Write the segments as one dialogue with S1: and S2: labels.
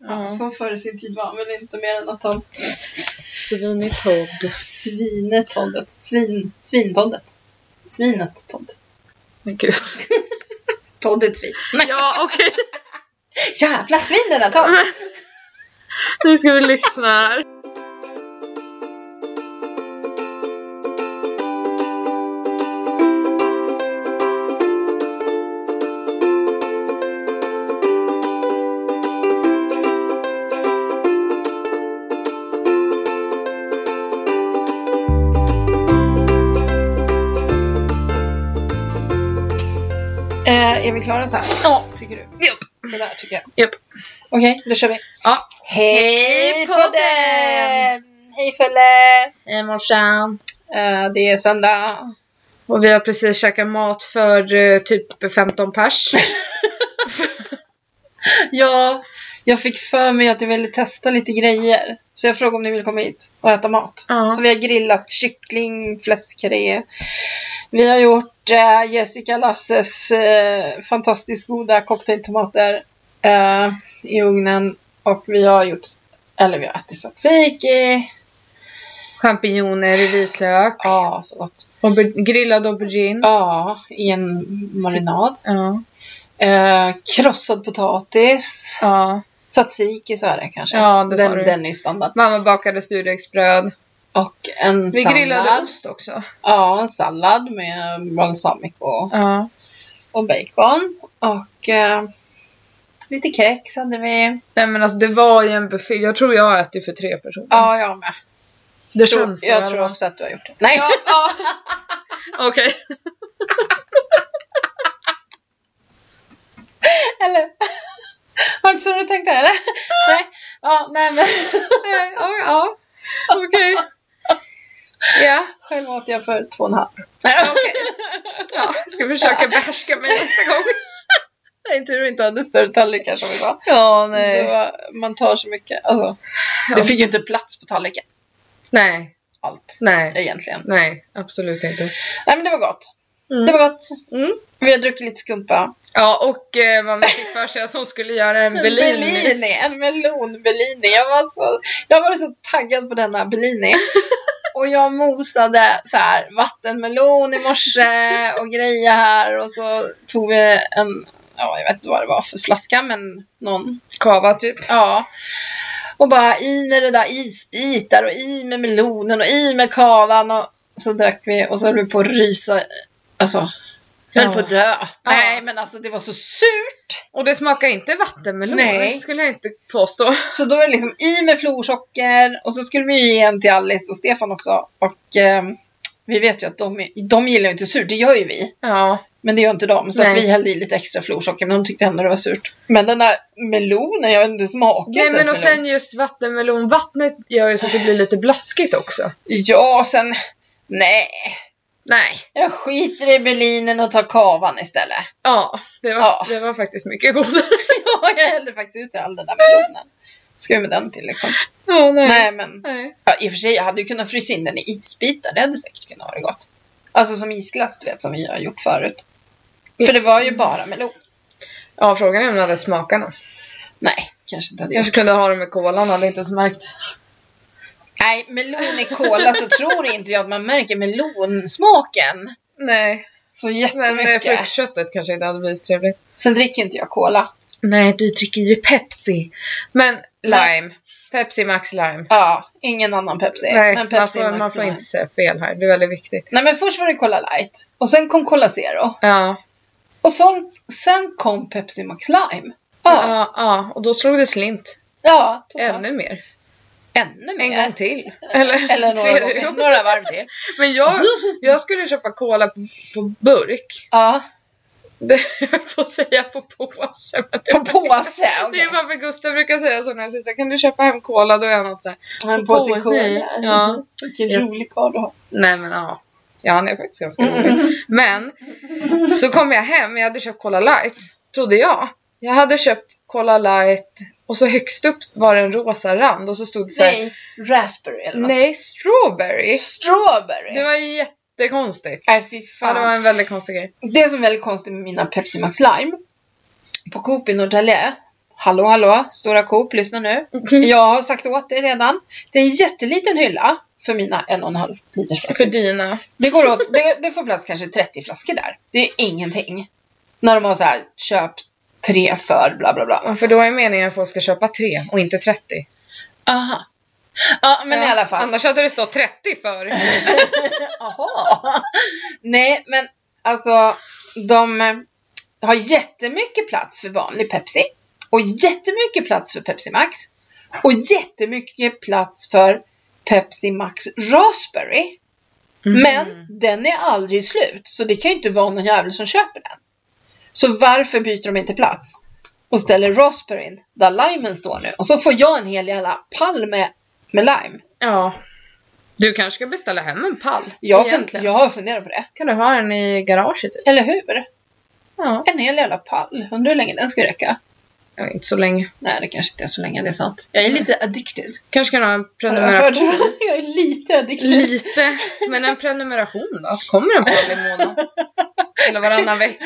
S1: Ja. Som före sin tid var, men inte mer än att han...
S2: Svinigt Todd.
S1: Svinet Toddet. Svin... Svintoddet. Svinet Todd.
S2: Men gud.
S1: Todd är ett svin. Nej,
S2: Ja, okej.
S1: jävla svinen är Todd!
S2: Nu ska vi lyssna här.
S1: Eh, är vi klara så här? Ja. Tycker du?
S2: Japp.
S1: Sådär tycker jag.
S2: Japp.
S1: Okej, då kör vi.
S2: Ja.
S1: Hej
S2: Hej
S1: på
S2: podden!
S1: den! Hej Felle!
S2: Hej morsan.
S1: Eh, det är söndag.
S2: Och vi har precis käkat mat för eh, typ 15 pers.
S1: Ja, jag fick för mig att jag ville testa lite grejer. Så jag frågade om ni vill komma hit och äta mat.
S2: Ja.
S1: Så vi har grillat kyckling, fläskkarré. Vi har gjort eh, Jessica Lasses eh, fantastiskt goda cocktailtomater eh, i ugnen. Och vi har gjort, eller vi har ätit tzatziki.
S2: Champinjoner i vitlök.
S1: Ja, så gott.
S2: Auber- grillad aubergine.
S1: Ja, i en marinad.
S2: Ja.
S1: Eh, krossad potatis.
S2: ja.
S1: Tzatziki sa jag det kanske.
S2: Ja, det sa
S1: den,
S2: du.
S1: den är ju standard.
S2: Mamma bakade surdegsbröd.
S1: Och en
S2: Vi grillade
S1: sallad.
S2: ost också.
S1: Ja, en sallad med balsamico
S2: Ja.
S1: och bacon. Och eh, lite kex hade vi.
S2: Nej men alltså det var ju en buffé. Jag tror jag har ätit för tre personer.
S1: Ja, jag med.
S2: det
S1: Tror-
S2: känns så i
S1: jag
S2: alla
S1: tror
S2: fall.
S1: också att du har gjort det. Nej,
S2: Ja, ja. Okej.
S1: eller? Var det inte så du tänkte? Eller? nej. Ja, nej men.
S2: Eh, Ja, ja. Okej. Ja,
S1: Själv åt jag för två och en halv. Nej, okej.
S2: ja. Ska försöka behärska mig nästa gång.
S1: Det är tur vi inte hade större tallrikar som vi var.
S2: Ja,
S1: Det var. Man tar så mycket. Alltså, det
S2: Ja.
S1: fick ju inte plats på tallriken.
S2: Nej,
S1: Allt.
S2: nej,
S1: Egentligen.
S2: nej. Absolut inte.
S1: Nej men det var gott.
S2: Mm.
S1: Det var gott.
S2: Mm.
S1: Vi har druckit lite skumpa.
S2: Ja, och eh, mamma fick för sig att hon skulle göra en
S1: En
S2: Bellini.
S1: Bellini, en melonbellini. Jag var så, jag var så taggad på denna bellini. Och jag mosade så här, vattenmelon i morse och grejer här och så tog vi en, ja jag vet inte vad det var för flaska men någon,
S2: Kava typ.
S1: ja. Och bara i med det där isbitar och i med melonen och i med kavan och så drack vi och så höll vi på att rysa, alltså jag höll
S2: Ja.
S1: på att dö. Nej men alltså det var så surt.
S2: Och det smakar inte vattenmelon.
S1: Nej.
S2: Det skulle jag inte påstå.
S1: Så då var det liksom i med florsocker och så skulle vi ju ge en till Alice och Stefan också. Och ehm, vi vet ju att de, är- de gillar ju inte surt, det gör ju vi.
S2: Ja.
S1: Men det gör inte de, så att
S2: Nej.
S1: vi hällde i lite extra florsocker men de tyckte ändå det var surt. Men den där melonen, jag har inte smakat
S2: Nej men och
S1: ens melon.
S2: sen just vattenmelon. Vattnet gör ju så att det blir lite blaskigt också.
S1: Ja, sen... Nej,
S2: Nej.
S1: jag skiter i Berlinen och tar kavan istället.
S2: Ja, det var,
S1: Ja.
S2: Det var faktiskt mycket godare.
S1: Ja, jag hällde faktiskt ut all den där melonen. Ska vi med den till liksom?
S2: Ja,
S1: Nej, men
S2: Nej.
S1: ja, i och för sig, jag hade ju kunnat frysa in den i isbitar. Det hade säkert kunnat vara gott. Alltså som isglass, du vet, som vi har gjort förut. För det var ju bara melon.
S2: Ja, frågan är om den hade smakat någon.
S1: Nej, kanske inte hade gjort.
S2: Kanske kunde ha den med kolan, hade inte ens märkt.
S1: Nej, melon i cola så tror inte jag att man märker melonsmaken
S2: Nej,
S1: så
S2: men eh,
S1: jättemycket.
S2: fruktköttet kanske inte hade blivit så trevligt.
S1: Sen dricker ju inte jag cola.
S2: Nej, du dricker ju Pepsi. Men lime. Pepsi Max Lime.
S1: Ja, ingen annan Pepsi.
S2: Nej,
S1: men
S2: alltså, man,
S1: Pepsi
S2: får,
S1: Max
S2: man får
S1: Lime.
S2: inte säga fel här. Det är väldigt viktigt.
S1: Nej, men först var det Cola Light. Och sen kom Cola Zero.
S2: Ja.
S1: Och sen, sen kom Pepsi Max Lime. Ja,
S2: Ja, ja, och då slog det slint.
S1: ja totalt.
S2: Ännu mer.
S1: Ännu
S2: En
S1: mer.
S2: gång till. Eller,
S1: Eller några,
S2: tredje
S1: gånger,
S2: gången.
S1: några varv till.
S2: Men jag, jag skulle köpa cola på, på burk.
S1: Ja,
S2: Det, jag får säga på påse. Men det,
S1: på påse.
S2: det är
S1: okej.
S2: bara för Gustav brukar säga så när jag säger så här, kan du köpa hem cola? Då är han alltid så här,
S1: En
S2: på
S1: påse
S2: påse.
S1: cola.
S2: Ja.
S1: Vilken
S2: Ja.
S1: rolig karl du har.
S2: Nej men ja. Ja han är faktiskt ganska
S1: Mm.
S2: rolig. Men så kom jag hem, jag hade köpt Cola light. Trodde jag. Jag hade köpt Cola light och så högst upp var det en rosa rand och så stod det såhär
S1: Nej, raspberry eller något.
S2: Nej, strawberry.
S1: Strawberry!
S2: Det var jättekonstigt.
S1: Nej fy
S2: Ja, det var
S1: Äh, fan.
S2: en väldigt konstig grej.
S1: Det som är väldigt konstigt med mina Pepsi Max Lime, på Coop i Norrtälje Hallå hallå, Stora Coop, lyssna nu. Jag har sagt åt dig redan. Det är en jätteliten hylla för mina en och en halv liters flaskor.
S2: För dina.
S1: Det, går åt, det, det får plats kanske 30 flaskor där. Det är ingenting. När de har så här, köp tre för bla bla bla.
S2: Ja, För då är meningen att folk ska köpa tre och inte 30.
S1: Aha. Ja, men i alla fall.
S2: Annars hade det stått 30 för.
S1: Aha. Nej, men alltså de eh, har jättemycket plats för vanlig Pepsi och jättemycket plats för Pepsi Max och jättemycket plats för Pepsi Max Raspberry. Men den är aldrig slut, så det kan ju inte vara någon jävel som köper den. Så varför byter de inte plats och ställer raspberryn där limen står nu? Och så får jag en hel jävla pall med, med lime.
S2: Ja. Du kanske ska beställa hem en pall?
S1: Jag, har fun-
S2: Egentligen.
S1: jag har funderat på det.
S2: Kan du ha den i garaget? Typ?
S1: Eller hur?
S2: Ja.
S1: En hel jävla pall. Undrar hur länge den ska räcka.
S2: ja. Inte så länge.
S1: Nej, det kanske inte är så länge, det är sant. Jag är lite addicted.
S2: Kanske kan du ha en
S1: Har du hört
S2: prenumeration.
S1: det? Jag är lite addicted.
S2: Lite. Men en prenumeration då? Kommer en pall i månaden? Eller varannan vecka?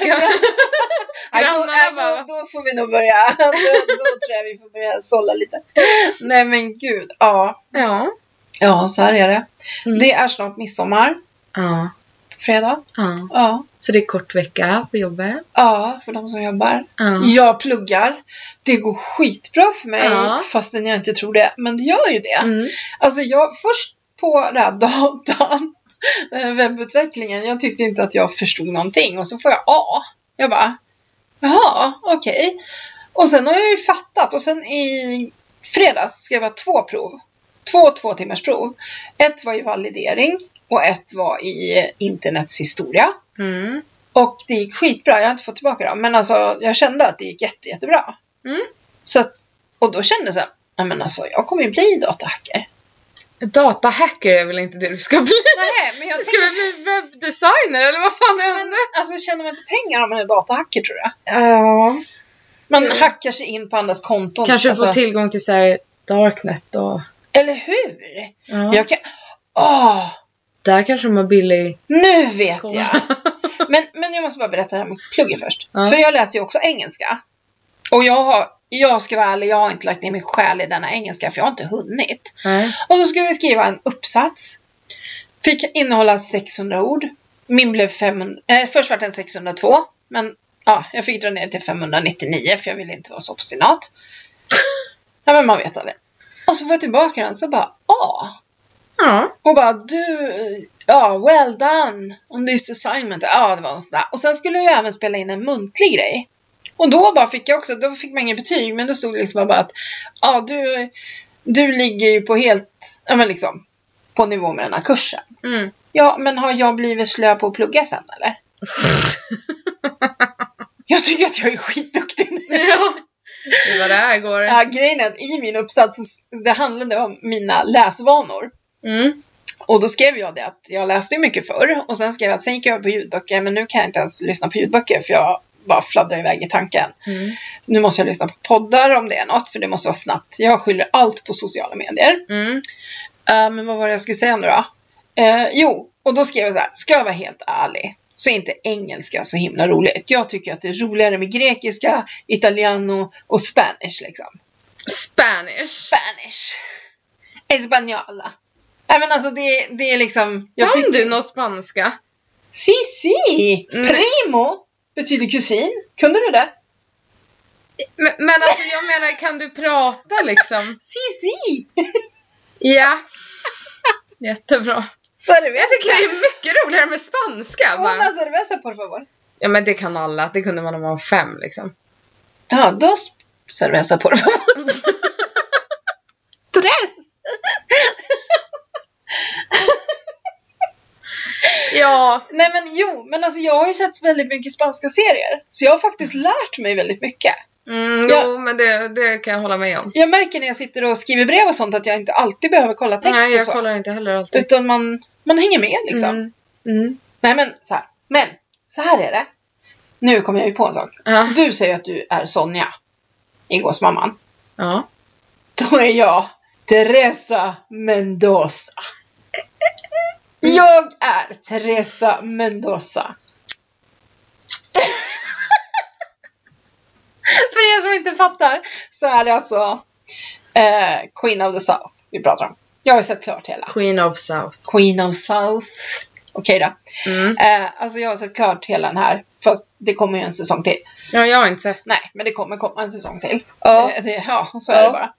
S1: Nej, då,
S2: Grannarna
S1: nej,
S2: bara,
S1: då, då får vi nog börja. Då, då tror jag vi får börja sålla lite. Nej men gud, ja.
S2: Ja.
S1: Ja, så här är det.
S2: Mm.
S1: Det är snart midsommar.
S2: Ja.
S1: på Fredag.
S2: ja.
S1: Ja.
S2: Så det är kort vecka på jobbet?
S1: Ja, för de som jobbar.
S2: Ja.
S1: Jag pluggar. Det går skitbra för mig.
S2: Ja.
S1: Fastän jag inte tror det. Men det gör ju det.
S2: Mm.
S1: Alltså jag, först på den här datan, den här webbutvecklingen, jag tyckte inte att jag förstod någonting och så får jag A. Jag bara, jaha, okej. Och sen har jag ju fattat och sen i fredags skrev jag två prov. Två två timmars prov. Ett var i validering och ett var i internets historia.
S2: Mm.
S1: Och det gick skitbra, jag har inte fått tillbaka dem. Men alltså jag kände att det gick jätte, jättebra.
S2: Mm.
S1: Så att, och då kände jag så här, nej men alltså jag kommer ju bli datahacker.
S2: Datahacker är väl inte det du ska bli?
S1: Nej, men jag
S2: Ska vi bli webbdesigner eller vad fan
S1: Men,
S2: hände?
S1: alltså tjänar man inte pengar om man är datahacker tror jag?
S2: Ja.
S1: Man hackar sig in på andras konton.
S2: Mm. Kanske
S1: alltså.
S2: få tillgång till så här Darknet och...
S1: Eller hur?
S2: Ja.
S1: Jag kan... Åh!
S2: Där kanske de har billig...
S1: Nu vet
S2: Kom.
S1: jag! Men, men jag måste bara berätta det här med pluggen först.
S2: Ja.
S1: För jag läser ju också engelska. Och jag har, jag ska vara ärlig, jag har inte lagt ner min själ i denna engelska för jag har inte hunnit.
S2: Nej.
S1: Och så skulle vi skriva en uppsats. Fick innehålla 600 ord. Min blev 500, eh, först var den 602. Men ja, jag fick dra ner till 599 för jag ville inte vara så obstinat. Ja, men man vet aldrig. Och så får jag tillbaka den så bara "Ah." A.
S2: Ja.
S1: Och bara du, ja well done on this assignment. Ja, det var en sån där. Och sen skulle jag ju även spela in en muntlig grej. Och då bara fick jag också, då fick man inget betyg, men då stod det liksom bara att ja du, du ligger ju på helt, ja men liksom på nivå med den här kursen.
S2: Mm.
S1: Ja, men har jag blivit slö på att plugga sen eller? jag tycker att jag är skitduktig nu.
S2: Ja. Det var det här går.
S1: Ja, grejen är att i min uppsats, så- det handlade om mina läsvanor.
S2: Mm.
S1: Och då skrev jag det att jag läste ju mycket förr och sen skrev jag att sen gick jag över på ljudböcker men nu kan jag inte ens lyssna på ljudböcker för jag bara fladdrar iväg i tanken.
S2: Mm.
S1: Nu måste jag lyssna på poddar om det är något för det måste vara snabbt. Jag skyller allt på sociala medier.
S2: Mm.
S1: Eh, men vad var det jag skulle säga nu då? Eh, jo, och då skrev jag så här, ska jag vara helt ärlig så är inte engelska så himla roligt. Jag tycker att det är roligare med grekiska, italiano och spanish liksom.
S2: Spanish.
S1: Spanish. Española. Nej men alltså det, det är liksom...
S2: Kan
S1: tycker-
S2: du någon spanska?
S1: Si, si!
S2: Mm.
S1: Primo betyder kusin. Kunde du det?
S2: Men, men alltså jag menar, kan du prata liksom?
S1: Si, si!
S2: Ja. Jättebra.
S1: Cerveza.
S2: Jag tycker det är mycket roligare med spanska.
S1: Una
S2: Bara.
S1: cerveza, por favor.
S2: Ja men det kan alla. Det kunde man när man var fem liksom.
S1: Ja, dos cerveza, por favor. Tres!
S2: Ja.
S1: Nej men jo, men alltså jag har ju sett väldigt mycket spanska serier. Så jag har faktiskt lärt mig väldigt mycket.
S2: Mm,
S1: Ja.
S2: Jo men det, det kan jag hålla med om.
S1: Jag märker när jag sitter och skriver brev och sånt att jag inte alltid behöver kolla text
S2: Nej
S1: och
S2: jag
S1: så.
S2: kollar inte heller alltid.
S1: Utan man, man hänger med liksom.
S2: Mm. Mm.
S1: Nej men så här. Men så här är det. Nu kommer jag ju på en sak.
S2: Ja.
S1: Du säger att du är Sonja. I Gåsmamman.
S2: ja.
S1: Då är jag Teresa Mendoza. Jag är Teresa Mendoza. För er som inte fattar så är det alltså eh, Queen of the South vi pratar om. Jag har ju sett klart hela.
S2: Queen of South.
S1: Queen of South. Okej då.
S2: Mm.
S1: Eh, alltså jag har sett klart hela den här. Fast det kommer ju en säsong till.
S2: Ja, jag har inte sett.
S1: Nej, men det kommer komma en säsong till.
S2: Ja.
S1: Eh, det, ja så är
S2: Ja.
S1: det bara.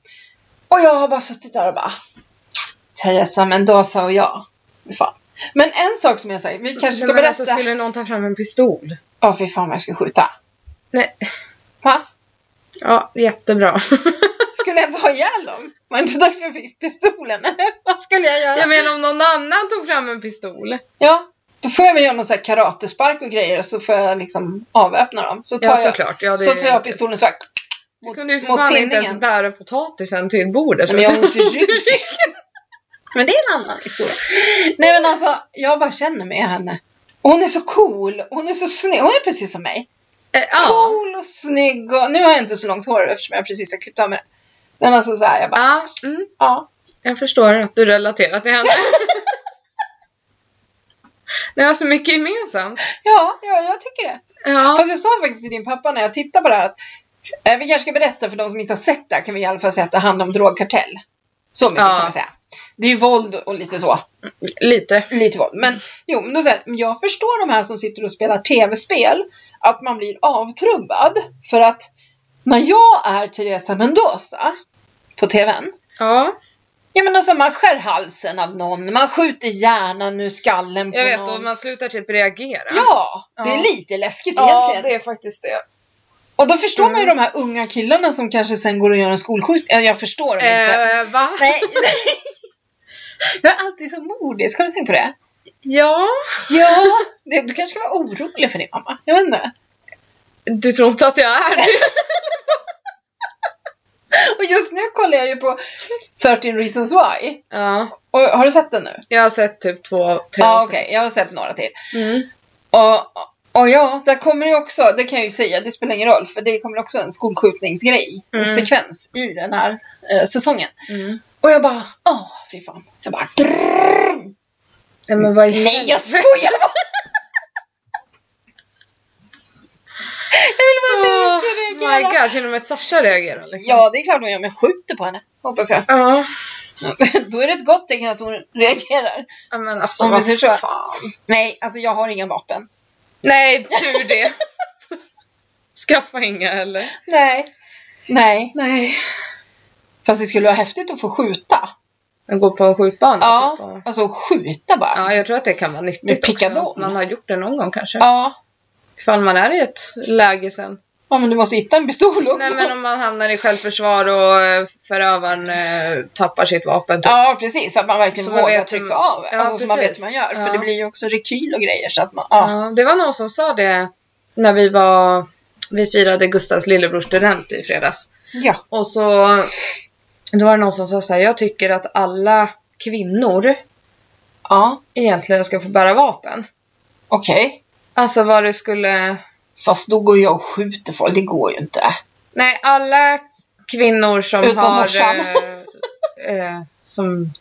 S1: Och jag har bara suttit där och bara Teresa Mendoza och jag. Fy Fan. Men en sak som jag säger, vi kanske ska
S2: Nej, men
S1: berätta.
S2: alltså, skulle någon ta fram en pistol?
S1: Ja, fy fan vad jag skulle skjuta.
S2: Nej.
S1: Va?
S2: Ja, jättebra.
S1: Skulle jag inte ha ihjäl dem? Var det inte därför jag fick pistolen? eller? vad skulle jag göra?
S2: jag menar om någon annan tog fram en pistol.
S1: Ja, då får jag väl göra någon sån här karatespark och grejer och så får jag liksom avväpna dem. Så tar,
S2: Ja,
S1: jag,
S2: såklart. Ja, det...
S1: så tar jag pistolen så här.
S2: Du
S1: mot-
S2: kunde ju för
S1: mot
S2: fan inte ens
S1: tinningen.
S2: bära potatisen till bordet.
S1: Nej,
S2: så
S1: Alltså, men jag har
S2: du-
S1: ont i ryggen. Men det är en annan historia. Nej men alltså, jag bara känner med henne. Och Hon är så cool, hon är så snygg, hon är precis som mig.
S2: Eh, Ja.
S1: Cool och snygg och nu har jag inte så långt hår eftersom jag precis har klippt av mig det. Men alltså så här, jag bara,
S2: Ja, mm,
S1: ja.
S2: jag förstår att du relaterar till henne. Ni har så mycket gemensamt.
S1: Ja, ja, jag tycker det.
S2: Ja.
S1: Fast jag sa faktiskt till din pappa när jag tittade på det här att eh, vi kanske ska berätta för de som inte har sett det här kan vi i alla fall säga att det handlar om drogkartell. Så mycket
S2: Ja.
S1: kan vi säga. Det är ju våld och lite så.
S2: Lite.
S1: Lite våld. Men jo, men då säger jag, men jag förstår de här som sitter och spelar tv-spel att man blir avtrubbad. För att när jag är Teresa Mendoza på tvn
S2: Ja.
S1: Ja men alltså man skär halsen av någon, man skjuter hjärnan ur skallen på
S2: Jag vet,
S1: någon.
S2: och man slutar typ reagera.
S1: Ja, det
S2: Ja.
S1: är lite läskigt
S2: ja
S1: egentligen.
S2: det Mm. är faktiskt det.
S1: Och då förstår man ju de här unga killarna som kanske sen går och gör en skolskjutning. Eh, Jag förstår dem inte.
S2: Eh, va?
S1: Nej, nej. Jag är alltid så mordisk, har du tänkt på det?
S2: Ja.
S1: Ja, det, du kanske ska vara orolig för din mamma. Jag vet inte.
S2: Du tror inte att jag är det?
S1: Och just nu kollar jag ju på 13 reasons why.
S2: Ja.
S1: Och, har du sett den nu?
S2: Jag har sett typ två, tre
S1: Ja, ah,
S2: avsnitt.
S1: okej. Jag har sett några till.
S2: Mm.
S1: Och, och ja, där kommer ju också, det kan jag ju säga, det spelar ingen roll, för det kommer också en skolskjutningsgrej, en
S2: Mm.
S1: sekvens i den här eh, säsongen.
S2: Mm.
S1: Och jag bara, åh, fy fan. Jag bara, drrrr.
S2: Nej, men vad i
S1: Nej, jag
S2: helvete?
S1: skojar bara! jag ville bara se hur jag skulle
S2: Oh my
S1: reagera.
S2: god, till och med Sasha reagerar liksom.
S1: Ja, det är klart hon gör, men jag skjuter på henne. Hoppas jag.
S2: Ja.
S1: Då är det ett gott tecken att hon reagerar.
S2: Ja, men alltså
S1: Om vi
S2: vad
S1: säger så.
S2: fan.
S1: Nej, alltså jag har inga vapen.
S2: Nej, tur det. Skaffa inga heller.
S1: Nej. Nej.
S2: Nej.
S1: Fast det skulle vara häftigt att få skjuta.
S2: Jag går på en skjutbana
S1: Ja,
S2: typ. och-
S1: alltså skjuta bara. Ja.
S2: Ja, jag tror att det kan vara
S1: Med
S2: nyttigt
S1: pickadon.
S2: också. Man har gjort det någon gång kanske.
S1: ja.
S2: Ifall man är i ett läge sen.
S1: men du måste hitta en pistol också.
S2: Nej men om man hamnar i självförsvar och eh, förövaren eh, tappar sitt vapen. Typ.
S1: Ja, precis. Att man verkligen
S2: Så man
S1: vågar
S2: vet-
S1: trycka av.
S2: Ja,
S1: alltså, så man vet
S2: precis.
S1: hur man gör. För
S2: Ja.
S1: det blir ju också rekyl och grejer. Så att man, ja.
S2: Ja, det var någon som sa det när vi var vi firade Gustavs lillebrors student i fredags.
S1: ja.
S2: Och så då var det någon som sa så här, jag tycker att alla kvinnor
S1: Ja,
S2: egentligen ska få bära vapen.
S1: okej.
S2: Alltså vad det skulle...
S1: Fast då går jag och skjuter folk, det går ju inte.
S2: Nej, alla kvinnor som
S1: Utom
S2: har...
S1: morsan.
S2: Eh, eh, som...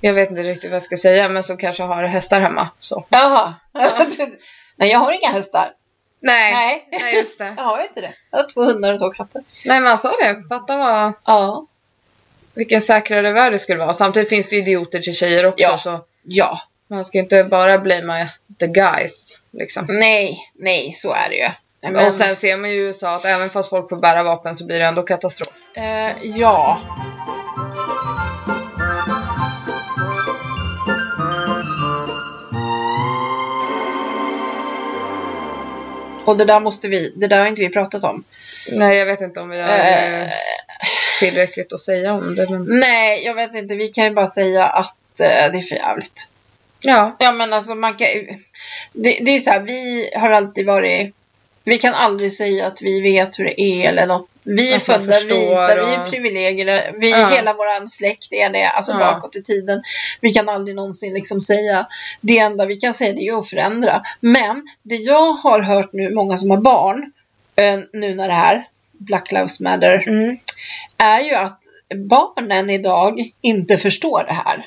S2: Jag vet inte riktigt vad jag ska säga, men som kanske har hästar hemma. Så.
S1: Jaha. Nej, jag har inga hästar.
S2: Nej, nej.
S1: Nej,
S2: just det.
S1: jag har ju inte det. Jag har två hundar och två katter.
S2: Nej, men han sa det. Fatta vad,
S1: Ja.
S2: vilken säkrare värld det skulle vara. Samtidigt finns det idioter till tjejer också,
S1: Ja.
S2: så
S1: Ja.
S2: man ska inte bara blamea the guys. Liksom.
S1: Mm.
S2: Mm.
S1: Nej, nej, så är det ju. Nej,
S2: Och sen ser man ju i USA att även fast folk får bära vapen så blir det ändå katastrof.
S1: eh, ja. Och det där måste vi, det där har inte vi pratat om.
S2: Nej, jag vet inte om vi har
S1: Eh.
S2: eh, tillräckligt att säga om det, men
S1: Nej, jag vet inte, vi kan ju bara säga att eh, det är för jävligt.
S2: ja.
S1: Ja men alltså man kan Det, det är ju så här, vi har alltid varit... Vi kan aldrig säga att vi vet hur det är eller något. Vi är
S2: Att man
S1: födda
S2: Alltså, förstår
S1: vita, vi är
S2: och-
S1: privilegier, vi,
S2: Ja.
S1: hela vår släkt är det, alltså
S2: Ja.
S1: bakåt i tiden. Vi kan aldrig någonsin liksom säga, det enda vi kan säga det är ju att förändra. Men det jag har hört nu, många som har barn, eh, nu när det här, Black Lives Matter,
S2: Mm.
S1: är ju att barnen idag inte förstår det här.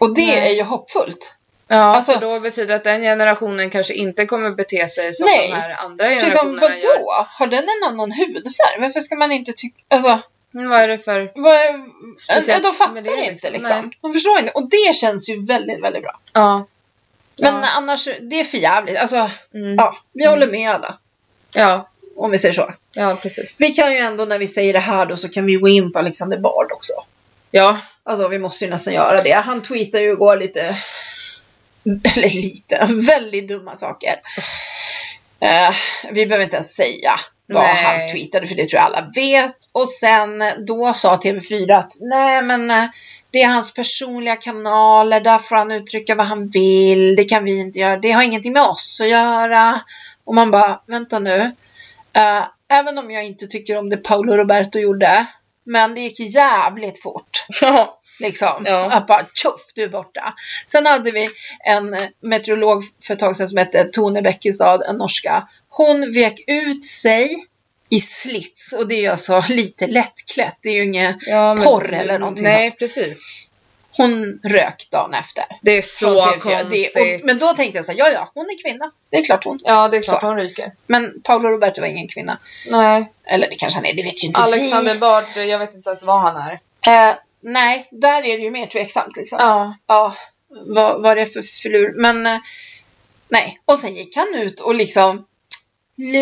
S1: Och det
S2: Nej.
S1: är ju hoppfullt.
S2: Ja,
S1: Alltså-
S2: för då betyder det att den generationen kanske inte kommer bete sig som
S1: Nej.
S2: de här andra
S1: Precis som
S2: generationerna gör.
S1: vadå? Har den en annan hudfärg? Varför ska man inte tycka... Alltså,
S2: Mm, vad är det för...
S1: Vad är,
S2: Speciellt
S1: de
S2: med
S1: fattar
S2: det,
S1: inte
S2: liksom.
S1: liksom.
S2: Nej.
S1: De förstår inte. Och det känns ju väldigt, väldigt bra.
S2: Ja.
S1: Men
S2: Ja.
S1: annars, det är för jävligt. Alltså,
S2: Mm.
S1: ja, vi håller med alla.
S2: Ja.
S1: Om vi säger så.
S2: Ja, precis.
S1: Vi kan ju ändå när vi säger det här då så kan vi gå in på Alexander Bard också.
S2: Ja.
S1: Alltså vi måste ju nästan göra det. Han tweetade ju igår lite, eller lite, väldigt dumma saker. Eh, vi behöver inte ens säga vad
S2: Nej.
S1: han tweetade för det tror jag alla vet. Och sen då sa TV4 att nej men eh, det är hans personliga kanaler, där får han uttrycka vad han vill, det kan vi inte göra, det har ingenting med oss att göra. Och man bara, vänta nu. Eh, även om jag inte tycker om det Paolo Roberto gjorde, men det gick jävligt fort.
S2: Ja.
S1: Liksom.
S2: Ja.
S1: Att bara tjoff, du är borta. Sen hade vi en eh, meteorolog för ett tag sedan som hette Tone Bäckestad, en norska. Hon vek ut sig i slits och det är ju alltså lite lättklätt. Det är ju inget...
S2: ja men,
S1: Porr eller någonting
S2: Nej, precis.
S1: Hon rök dagen efter.
S2: Det är så
S1: Från TV4.
S2: konstigt.
S1: Det, och, men då tänkte jag så här, ja ja, hon är kvinna. Det är klart hon.
S2: Ja, det är klart
S1: Så.
S2: hon ryker.
S1: Men Paolo Roberto var ingen kvinna.
S2: Nej.
S1: Eller det kanske han är, det vet ju inte
S2: Alexander Bard, jag vet inte ens vad han är.
S1: vi. Eh, nej, där är det ju mer tveksamt liksom.
S2: Ja.
S1: ja, vad, vad det är för filur. Men eh, nej, och sen gick han ut och liksom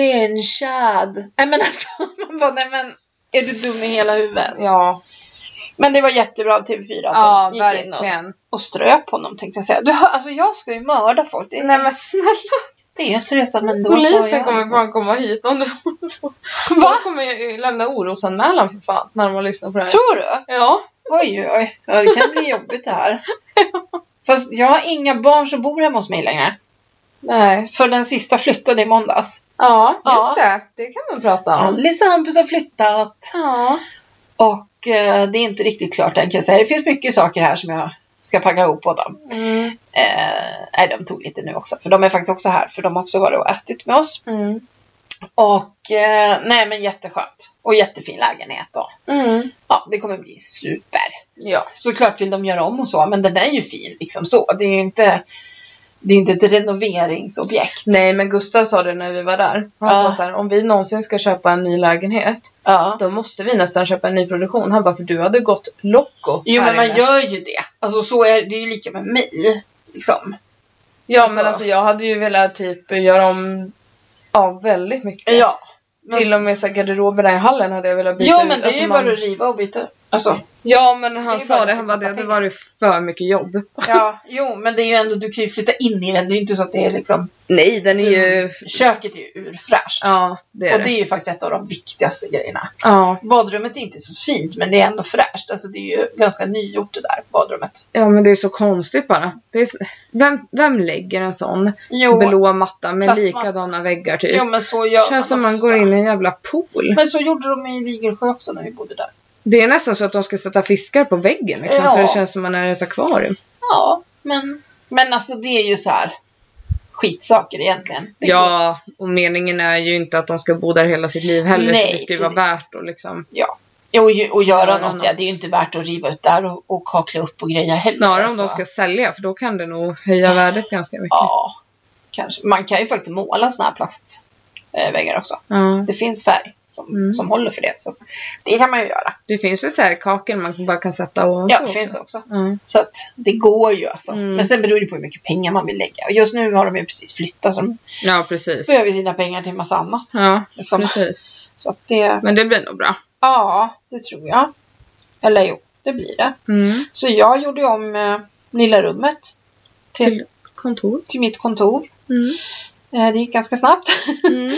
S1: lynchad. Nej men alltså, man bara, nej men är du dum i hela huvudet?
S2: Ja,
S1: Men det var jättebra av TV4 att
S2: ja
S1: de gick in
S2: verkligen.
S1: och, och ströp honom tänkte jag säga. Du, hör, alltså jag ska ju mörda folk. Det,
S2: Nej men snälla,
S1: det är Teresa men då
S2: polisen kommer fan komma hit om du...
S1: Va?
S2: De kommer ju lämna orosanmälan för fan när de lyssnar på det här.
S1: Tror du?
S2: Ja.
S1: Oj, oj, ja, det kan bli jobbigt det här. Fast jag har inga barn som bor hemma hos mig längre.
S2: Nej.
S1: För den sista flyttade i måndags.
S2: Ja,
S1: Ja.
S2: just det. Det kan man prata om.
S1: Alice och Hampus har flyttat.
S2: Ja.
S1: Och eh, det är inte riktigt klart än kan jag säga. Det finns mycket saker här som jag ska packa ihop åt dem.
S2: Mm.
S1: Eh, nej, de tog lite nu också. För de är faktiskt också här. För de har också varit och ätit med oss.
S2: Mm.
S1: Och eh, nej men jätteskönt. Och jättefin lägenhet då.
S2: Mm.
S1: Ja, det kommer bli super.
S2: Ja.
S1: Såklart vill de göra om och så. Men den är ju fin liksom så. Det är ju inte, det är inte ett renoveringsobjekt.
S2: Nej, men Gustav sa det när vi var där. Han
S1: Ja.
S2: sa så här, om vi någonsin ska köpa en ny lägenhet,
S1: Ja.
S2: då måste vi nästan köpa en ny produktion. Han bara, för du hade gått loco.
S1: Jo
S2: här
S1: men man
S2: inne.
S1: gör ju det. Alltså så är det är ju lika med mig. Liksom.
S2: Ja,
S1: alltså-
S2: men alltså jag hade ju velat typ göra om, ja, väldigt mycket.
S1: Ja. Men,
S2: Till och med så här, garderoberna i hallen hade jag velat byta
S1: jo
S2: ut.
S1: men det är
S2: Alltså,
S1: ju
S2: man-
S1: bara att riva och byta. Alltså.
S2: Ja, men
S1: Det är
S2: han
S1: ju
S2: sa
S1: bara
S2: det.
S1: att det
S2: Han bara, det
S1: kostar
S2: hade
S1: pengar.
S2: varit för mycket jobb.
S1: Ja, jo, men det är ju ändå, du kan ju flytta in i den. Det är ju inte så att det är liksom,
S2: Nej, den är
S1: Du-
S2: ju...
S1: köket är ju urfräscht.
S2: Ja, det är
S1: och
S2: det.
S1: det är ju faktiskt ett av de viktigaste grejerna.
S2: Ja.
S1: Badrummet är inte så fint, men det är ändå fräscht. Alltså det är ju ganska nygjort det där badrummet.
S2: ja, men det är så konstigt bara. Det är... s- vem, vem lägger en sån
S1: Jo,
S2: blå matta med
S1: Fast man-
S2: likadana väggar typ?
S1: jo men så gör
S2: Känns som man
S1: ofta.
S2: går in i en jävla pool.
S1: Men så gjorde de i Vigelsjö också när vi bodde där.
S2: Det är nästan så att de ska sätta fiskar på väggen liksom,
S1: Ja.
S2: för det känns som man är i ett akvarium.
S1: Ja, men, men alltså det är ju så här skitsaker egentligen. Det går-
S2: Ja, och meningen är ju inte att de ska bo där hela sitt liv heller,
S1: Nej,
S2: så det ska ju vara
S1: precis.
S2: värt och liksom.
S1: Och, ju- och göra
S2: Göra
S1: något,
S2: något.
S1: ja, det är ju inte värt att riva ut där och, och kakla upp och greja heller.
S2: Snarare om de
S1: alltså.
S2: ska sälja, för då kan det nog höja värdet ganska mycket.
S1: Ja, kanske. Man kan ju faktiskt måla såna här plastväggar också.
S2: Ja.
S1: Det finns färg som,
S2: Mm.
S1: som håller för det. Så att det kan man ju göra.
S2: Det finns ju så här kakel man bara kan sätta ovanpå
S1: Ja, det
S2: också.
S1: finns det också.
S2: Ja.
S1: Så att det går ju alltså.
S2: Mm.
S1: Men sen beror det på hur mycket pengar man vill lägga. Och just nu har de ju precis flyttat så de
S2: ja, precis.
S1: behöver sina pengar till en massa annat.
S2: Ja,
S1: Liksom.
S2: precis.
S1: Så att det,
S2: Men det blir nog bra.
S1: ja, det tror jag. Eller jo, det blir det.
S2: Mm.
S1: Så jag gjorde ju om eh, lilla rummet till,
S2: Till kontor.
S1: till mitt kontor.
S2: Mm.
S1: Eh, det gick ganska snabbt.
S2: Mm.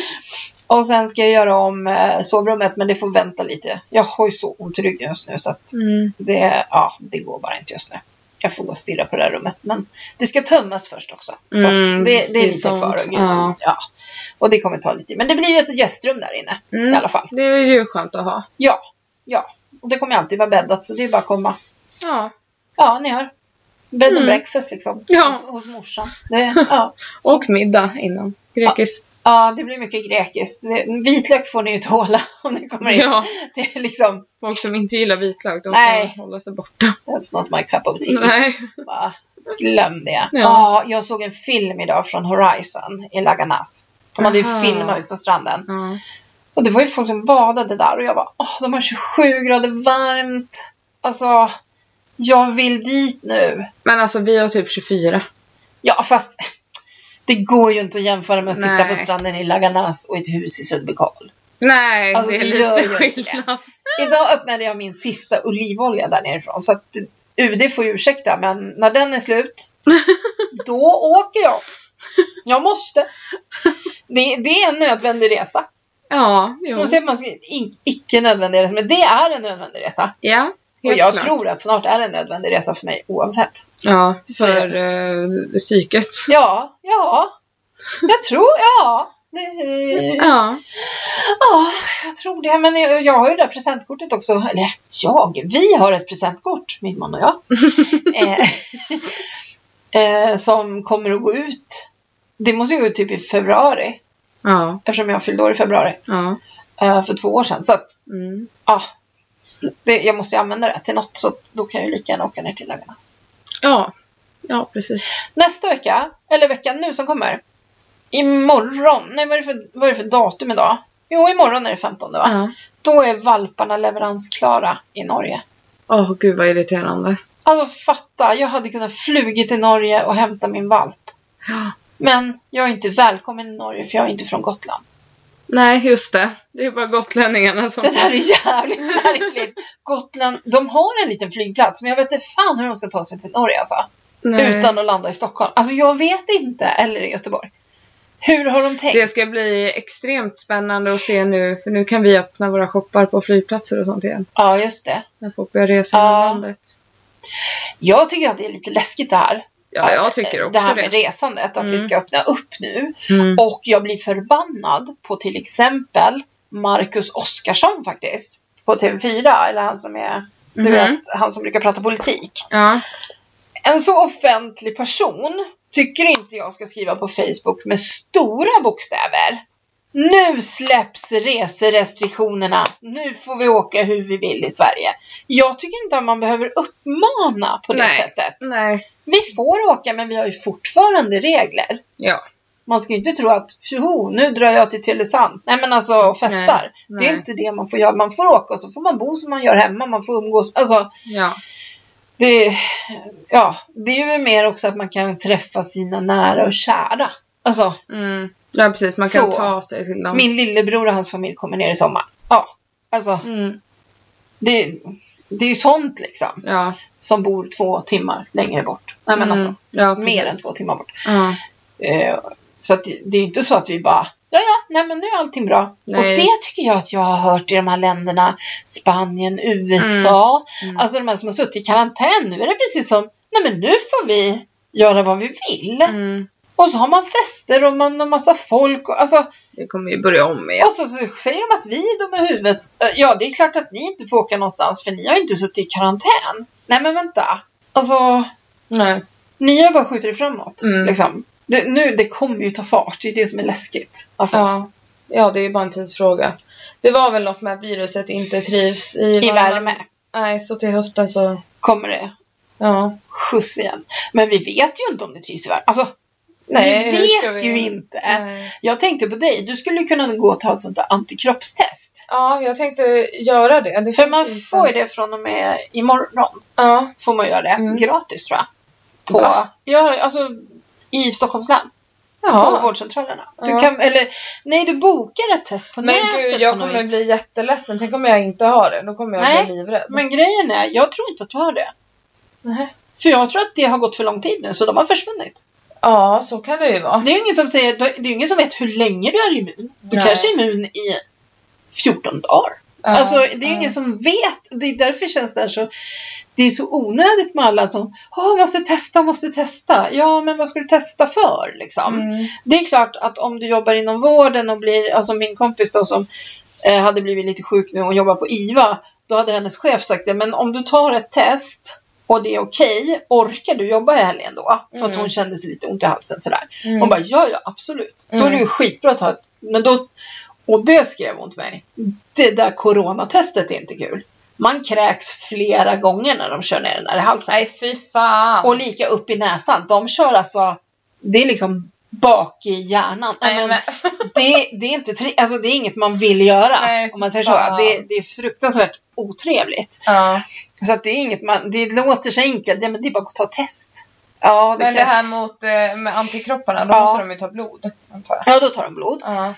S1: Och sen ska jag göra om eh, sovrummet, men det får vänta lite. Jag har ju så ont i ryggen just nu så att
S2: Mm.
S1: det, ja, det går bara inte just nu. Jag får gå och stirra på det här rummet. Men det ska tömmas först också. Så att
S2: Mm,
S1: det, det
S2: det
S1: är
S2: är
S1: lite
S2: sånt,
S1: kvar. Och, ja.
S2: ja.
S1: Ja. och det kommer ta lite tid. Men det blir ju ett gästrum där inne i
S2: Mm.
S1: alla fall.
S2: Det är ju skönt att ha.
S1: Ja, ja. Och det kommer ju alltid vara bäddat så det är bara att komma.
S2: Ja.
S1: Ja, ni hör. Bed and
S2: Mm.
S1: breakfast liksom.
S2: Ja.
S1: Hos, hos morsan. Det, ja.
S2: Och middag innan. Grekiskt.
S1: ja, det blir mycket grekiskt. Det, vitlök får ni ju tåla om ni kommer in.
S2: Ja.
S1: Det är liksom
S2: Folk som inte gillar vitlök, de
S1: Nej. Typ.
S2: ska hålla sig borta.
S1: That's not my cup of tea.
S2: Nej.
S1: Bara, glöm det. Ja.
S2: Ja.
S1: jag såg en film idag från Horizon i Laganas. De hade ju
S2: Aha.
S1: filmat ut på stranden.
S2: Ja.
S1: Och det var ju folk som badade där och jag bara, åh, de har 27 grader varmt. Alltså, jag vill dit nu.
S2: Men alltså vi har typ 24.
S1: Ja, fast det går ju inte att jämföra med att sitta
S2: Nej.
S1: på stranden i Laganas och ett hus i Sundbykarl.
S2: Nej,
S1: Alltså,
S2: det är
S1: det gör
S2: lite
S1: ju inte.
S2: skillnad.
S1: Idag öppnade jag min sista olivolja där nerifrån, så att UD får ju ursäkta, men när den är slut, då åker jag. Jag måste. Det, det är en nödvändig resa.
S2: Ja, jo.
S1: Jo. Hon säger att man ska, i- icke nödvändig resa, men det är en nödvändig resa.
S2: Ja,
S1: Och
S2: helt
S1: jag
S2: klart.
S1: tror att snart är det en nödvändig resa för mig oavsett.
S2: Ja, för eh, psyket.
S1: Ja, ja. Jag tror, ja. Det,
S2: Ja.
S1: Ja, jag tror det. Men jag, jag har ju det där presentkortet också. Eller jag, vi har ett presentkort, min man och jag. eh, eh, som kommer att gå ut. Det måste ju gå ut typ i februari.
S2: Ja.
S1: Eftersom jag fyllde år i februari
S2: Ja.
S1: eh, för två år sedan. Så att,
S2: Mm.
S1: ja. Det, jag måste ju använda det till något. Så att då kan jag ju lika gärna åka ner till Laganas.
S2: Ja. Ja, precis.
S1: Nästa vecka, eller veckan nu som kommer. Imorgon, nej vad är det för, vad är det för datum idag? Jo, imorgon är det 15 va?
S2: Ja.
S1: Då är valparna leveransklara i Norge.
S2: Åh, gud vad irriterande.
S1: Alltså fatta, jag hade kunnat flugit till Norge och hämta min valp.
S2: Ja.
S1: Men jag är inte välkommen i Norge för jag är inte från Gotland.
S2: Nej, just det. Det är bara gotlänningarna som...
S1: Det där är jävligt märkligt. Gotland, de har en liten flygplats men jag vet inte fan hur de ska ta sig till Norge alltså.
S2: Nej.
S1: Utan att landa i Stockholm. Alltså jag vet inte, eller i Göteborg. Hur har de tänkt?
S2: Det ska bli extremt spännande att se nu, för nu kan vi öppna våra shoppar på flygplatser och sånt igen.
S1: Ja, just det.
S2: När folk börjar resa
S1: Ja.
S2: inom landet.
S1: Jag tycker att det är lite läskigt det här.
S2: Ja, jag tycker
S1: det
S2: också
S1: här
S2: det.
S1: med resandet, att vi
S2: Mm.
S1: ska öppna upp nu.
S2: Mm.
S1: Och jag blir förbannad på till exempel Marcus Oskarsson faktiskt. På TV4, eller han som är, du
S2: Mhm.
S1: vet, han som brukar prata politik.
S2: Ja.
S1: En så offentlig person tycker inte jag ska skriva på Facebook med stora bokstäver. Nu släpps reserestriktionerna. Nu får vi åka hur vi vill i Sverige. Jag tycker inte att man behöver uppmana på det
S2: Nej.
S1: sättet.
S2: Nej.
S1: Vi får åka men vi har ju fortfarande regler.
S2: Ja.
S1: Man ska ju inte tro att tjoho, nu drar jag till Tylösand. Nej men alltså och festar.
S2: Nej,
S1: Det är
S2: nej.
S1: inte det man får göra. Man får åka och så får man bo som man gör hemma. Man får umgås. Alltså,
S2: Ja.
S1: det, ja, det är ju mer också att man kan träffa sina nära och kära. Alltså,
S2: Mm. Ja, precis. Man kan
S1: Så.
S2: ta sig till dem.
S1: min lillebror och hans familj kommer ner i sommar. Ja, alltså
S2: Mm.
S1: det, det är ju sånt liksom.
S2: Ja.
S1: Som bor två timmar längre bort. Nej men
S2: Mm.
S1: alltså,
S2: ja, precis.
S1: mer än två timmar bort.
S2: Ja.
S1: Eh, så att det, det är ju inte så att vi bara, ja ja, nej men nu är allting bra.
S2: Nej.
S1: Och det tycker jag att jag har hört i de här länderna, Spanien, USA,
S2: Mm. Mm.
S1: alltså de här som har suttit i karantän, nu är det precis som, nej men nu får vi göra vad vi vill.
S2: Mm.
S1: Och så har man fester och man har massa folk och, alltså,
S2: Det kommer ju börja om igen.
S1: och så, så säger de att vi är dumma i huvudet. Eh, Ja, det är klart att ni inte får åka någonstans för ni har ju inte suttit i karantän. Nej men vänta, alltså
S2: Nej.
S1: ni har bara skjutit det framåt.
S2: Mm.
S1: Liksom. Det, nu, det kommer ju ta fart, det är det som är läskigt. Alltså,
S2: Ja. ja, det är ju bara en tidsfråga. Det var väl något med att viruset inte trivs i,
S1: I värme
S2: Nej, så till hösten så...
S1: kommer det
S2: Ja.
S1: skjuts igen. Men vi vet ju inte om det trivs i värme. Alltså,
S2: Nej,
S1: vi
S2: hur ska
S1: vet
S2: vi-
S1: ju inte.
S2: Nej.
S1: Jag tänkte på dig, du skulle ju kunna gå och ta ett sånt där antikroppstest.
S2: Ja, jag tänkte göra det. det
S1: För
S2: finns
S1: man
S2: ju
S1: får ju
S2: inte-
S1: det från och med imorgon.
S2: Ja.
S1: Får man göra det.
S2: Mm.
S1: Gratis tror jag. På,
S2: Va?
S1: ja, alltså, I Stockholms län. På
S2: ja.
S1: vårdcentralerna. Du
S2: Ja.
S1: kan, eller, nej, du bokar ett test på
S2: Men
S1: nätet.
S2: gud, jag
S1: typ på något
S2: kommer
S1: vis.
S2: bli jätteledsen. Tänk om jag inte har det. Då kommer jag
S1: Nej,
S2: bli livrädd.
S1: Men grejen är, jag tror inte att du har det.
S2: Nej.
S1: För jag tror att det har gått för lång tid nu, så de har försvunnit.
S2: Ja, så kan det ju vara.
S1: Det är ju inget som säger, det är ju ingen som vet hur länge du är immun. Du
S2: Nej.
S1: kanske är immun i 14 dagar.
S2: Ja,
S1: alltså, det är ju
S2: ja.
S1: ingen som vet. Det är därför känns det här så, det är så onödigt med alla som, åh, måste testa, måste testa. Ja, men vad ska du testa för liksom?
S2: Mm.
S1: Det är klart att om du jobbar inom vården och blir, alltså min kompis då som eh, hade blivit lite sjuk nu och jobbar på IVA, då hade hennes chef sagt det, men om du tar ett test och det är okej, orkar du jobba i helgen då? För att
S2: Mm.
S1: hon kände sig lite ont i halsen sådär.
S2: Mm.
S1: Hon bara, ja ja absolut. Då är det ju
S2: Mm.
S1: skitbra att ha ett, men då, och det skrev hon till mig, det där coronatestet är inte kul. Man kräks flera gånger när de kör ner den där i halsen.
S2: Nej, fy fan.
S1: Och lika upp i näsan. De kör alltså, det är liksom bak i hjärnan. Nej, men, det, det, är inte tri- alltså, det är inget man vill göra.
S2: Nej,
S1: om man säger så.
S2: fan.
S1: Det, det är fruktansvärt otrevligt.
S2: ja.
S1: Så att det är inget man, det låter så enkelt. Ja, men det är bara att ta test. Ja, det
S2: Men det
S1: kanske-
S2: här mot, eh, med antikropparna, då
S1: Ja.
S2: måste de ju ta blod. Antar jag.
S1: Ja, då tar de blod.
S2: Ja.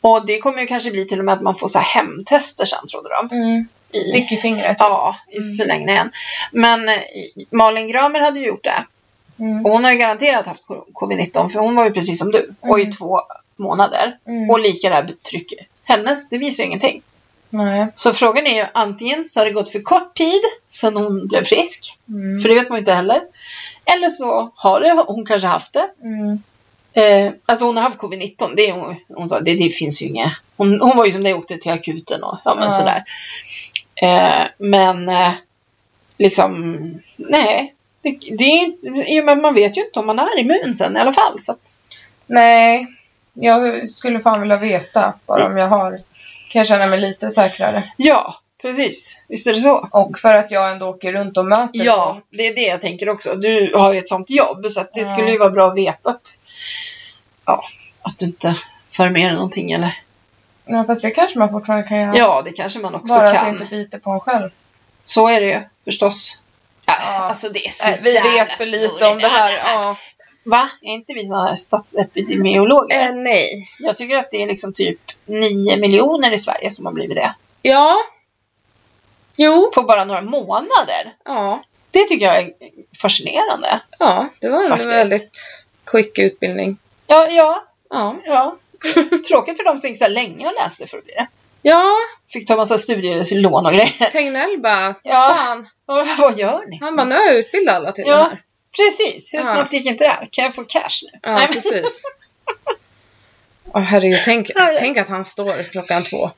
S1: Och det kommer ju kanske bli till och med att man får så här hemtester sen, trodde de.
S2: Mm.
S1: I,
S2: Stick i fingret.
S1: Ja, i
S2: Mm.
S1: förlängningen. Men eh, Malin Gramer hade ju gjort det.
S2: Mm.
S1: Och hon har ju garanterat haft covid-19, för hon var ju precis som du. Och i
S2: Mm.
S1: två månader.
S2: Mm.
S1: Och lika det här trycket. Hennes, det visar ju ingenting.
S2: Nej.
S1: Så frågan är ju antingen så har det gått för kort tid sedan hon blev frisk,
S2: Mm.
S1: för det vet man ju inte heller. Eller så har det, hon kanske haft det.
S2: Mm.
S1: Eh, alltså hon har haft covid-19, det är hon, hon sa, det, det finns ju inget. Hon, hon var ju som det åkte till akuten och ja, men
S2: Ja.
S1: sådär. Eh, men eh, liksom, nej. Det, det är inte, i och med att man vet ju inte om man är immun sen i alla fall. Så att,
S2: Nej. Jag skulle fan vilja veta bara om jag har. Kan jag känna mig lite säkrare.
S1: ja, precis. Visst är det så.
S2: Och för att jag ändå åker runt och möter
S1: Ja,
S2: folk.
S1: det är det jag tänker också. Du har ju ett sånt jobb så att det
S2: Ja.
S1: skulle ju vara bra att veta att, ja, att du inte för med dig någonting eller?
S2: Ja, fast det kanske man fortfarande kan göra.
S1: Ja, det kanske man också
S2: bara att det
S1: kan.
S2: inte biter på en själv.
S1: Så är det ju förstås. Ja,
S2: Ja.
S1: Alltså det är så
S2: Nej, Äh, vi
S1: jävla
S2: vet för lite
S1: stor
S2: om det här. Ja.
S1: Va? Är inte vi sådana här statsepidemiologer?
S2: Eh, nej.
S1: Jag tycker att det är liksom typ 9 miljoner i Sverige som har blivit det.
S2: Ja. Jo.
S1: På bara några månader.
S2: Ja.
S1: Det tycker jag är fascinerande.
S2: Ja, det var en
S1: Faktiskt.
S2: väldigt quick utbildning.
S1: Ja, ja,
S2: Ja.
S1: ja. Tråkigt för dem som gick så här länge och läste för att bli det.
S2: Ja,
S1: Fick ta massa studielån och grejer.
S2: Tegnell bara,
S1: Ja.
S2: fan.
S1: Och Vad gör ni?
S2: Han bara, nu har jag utbildat alla till det
S1: Ja,
S2: här.
S1: precis. Hur
S2: Ja.
S1: snabbt gick inte det här? Kan jag få cash nu?
S2: Ja,
S1: Nej, men-
S2: precis. Ja, herregud, tänk,
S1: Ja, ja.
S2: tänk att han står klockan två.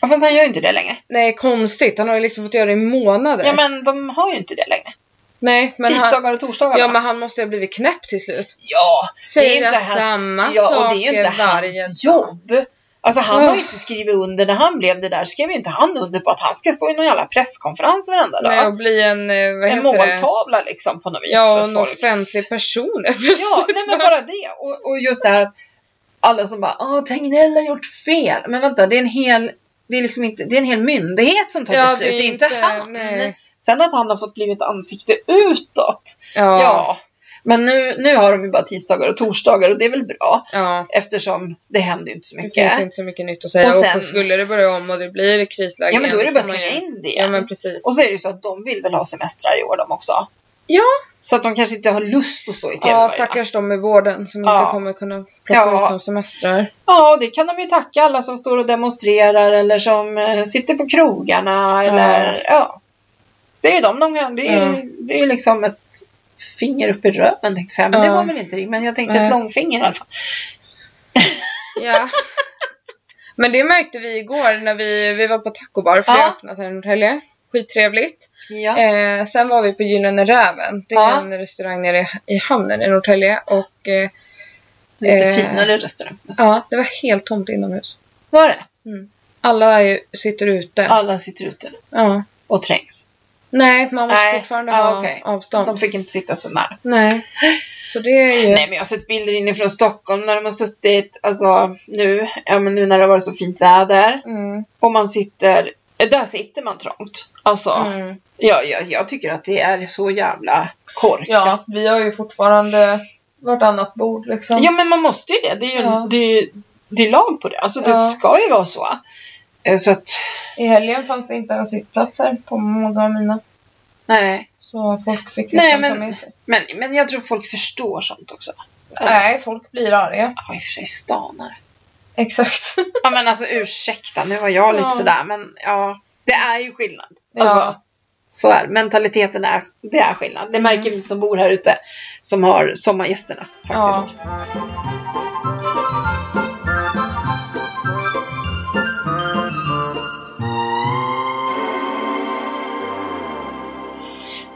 S1: Ja, Fast han gör ju inte det längre.
S2: Nej, konstigt. Han har ju liksom fått göra det i månader.
S1: Ja, men de har ju inte det längre.
S2: Nej, men han,
S1: Tisdagar och torsdagar.
S2: ja,
S1: bara.
S2: men han måste ju ha blivit knäpp till slut.
S1: ja det är ju
S2: Säga
S1: inte hans,
S2: samma
S1: ja, och
S2: saker
S1: det är ju inte
S2: varje
S1: hans jobb. Alltså han
S2: Ah.
S1: har ju inte skrivit under, när han blev det där skrev ju inte han under på att han ska stå i någon jävla presskonferens varenda dag.
S2: Nej, och bli en, eh, vad
S1: en
S2: heter det?
S1: måltavla liksom på något vis
S2: Ja, och
S1: för
S2: en
S1: folk.
S2: offentlig person.
S1: Ja, nej men bara det. Och, och just det här att alla som bara Åh, Tegnell har gjort fel. Men vänta, det är en hel, det är liksom inte, det är en hel myndighet som tar
S2: Ja,
S1: beslut. Det är inte han.
S2: nej.
S1: Sen att han har fått blivit ansikte utåt. Ja.
S2: Ja, ja.
S1: Men nu, nu har de ju bara tisdagar och torsdagar och det är väl bra.
S2: ja.
S1: Eftersom det händer ju inte så
S2: Det
S1: mycket.
S2: finns inte så mycket nytt att säga.
S1: Och
S2: Och,
S1: sen-
S2: skulle det börja om och det blir krisläge
S1: ja men då är det
S2: igen,
S1: bara att
S2: får man
S1: slänga
S2: ju-
S1: in det.
S2: Ja, men precis.
S1: Och så är det ju så att de vill väl ha semestrar i år de också.
S2: Ja.
S1: Så att de kanske inte har lust att stå i tv
S2: Ja,
S1: varje dag.
S2: stackars de i vården som
S1: Ja.
S2: inte kommer kunna plocka
S1: Ja.
S2: ut någon semester.
S1: Ja, och det kan de ju tacka alla som står och demonstrerar eller som eh, sitter på krogarna eller ja. Det är ju de de kan. Det är ju det är ju liksom ett finger upp i röven tänkte jag säga. Men det
S2: Ja.
S1: var väl inte det. Men jag tänkte
S2: Nej.
S1: ett långfinger i alla fall.
S2: Ja. Men det märkte vi igår när vi, vi var på tacobar för det
S1: Ja.
S2: har öppnat här i Norrtälje. Skittrevligt.
S1: Ja.
S2: Eh, sen var vi på Gyllene Räven. Det är
S1: Ja.
S2: en restaurang nere i, i hamnen i Norrtälje. Och eh,
S1: Lite
S2: eh,
S1: finare restaurang.
S2: ja, det var helt tomt inomhus.
S1: Var det?
S2: Mm. Alla är, ju- sitter ute. Ja.
S1: Alla sitter ute och trängs.
S2: Nej, man måste
S1: Nej.
S2: fortfarande
S1: Ja,
S2: ha
S1: okej.
S2: avstånd.
S1: De fick inte sitta så nära.
S2: Nej. Så det är ju...
S1: Nej men jag har sett bilder inifrån Stockholm när de har suttit, alltså nu, ja men nu när det har varit så fint väder.
S2: Mm,
S1: Och man sitter, där sitter man trångt. Alltså.
S2: mm.
S1: Ja, ja, jag tycker att det är så jävla korkat. Ja.
S2: Ja, vi har ju fortfarande vartannat bord liksom.
S1: men man måste ju det. Det är ju
S2: Ja.
S1: det är, det är lag på det. Alltså det
S2: Ja.
S1: ska ju vara så. Eh, Så att,
S2: I helgen fanns det inte ens sittplatser på många av mina.
S1: nej.
S2: Så folk fick liksom
S1: Nej,
S2: ta
S1: men-
S2: med sig.
S1: Men, men jag tror folk förstår sånt också.
S2: Nej, folk blir arga.
S1: Ja, i och för sig stanare.
S2: Exakt.
S1: Ja, men alltså ursäkta, nu var jag lite
S2: Ja.
S1: sådär, men ja. Det är ju skillnad.
S2: Ja.
S1: Alltså, så är det. Mentaliteten är, det är skillnad. Det märker
S2: Mm.
S1: vi som bor här ute, som har sommargästerna faktiskt.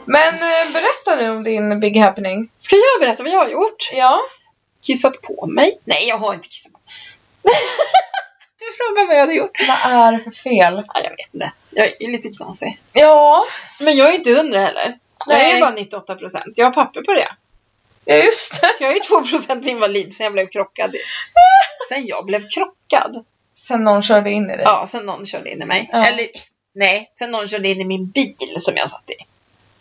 S2: Men eh, berätta nu om din big happening.
S1: Ska jag berätta vad jag har gjort?
S2: Ja.
S1: kissat på mig. Nej, jag har inte kissat på mig. du frågar vad jag hade gjort.
S2: Vad är det för fel?
S1: Ja, jag vet inte. Jag är lite knasig.
S2: Ja.
S1: Men jag är inte hundra heller. Jag är
S2: Nej.
S1: bara 98 procent. Jag har papper på det.
S2: Ja, just det.
S1: Jag är ju 2% invalid sen jag blev krockad. i- Sen jag blev krockad.
S2: Sen någon körde in i dig.
S1: Ja, sen någon körde in i mig.
S2: Ja.
S1: Eller nej, sen någon körde in i min bil som jag satt i.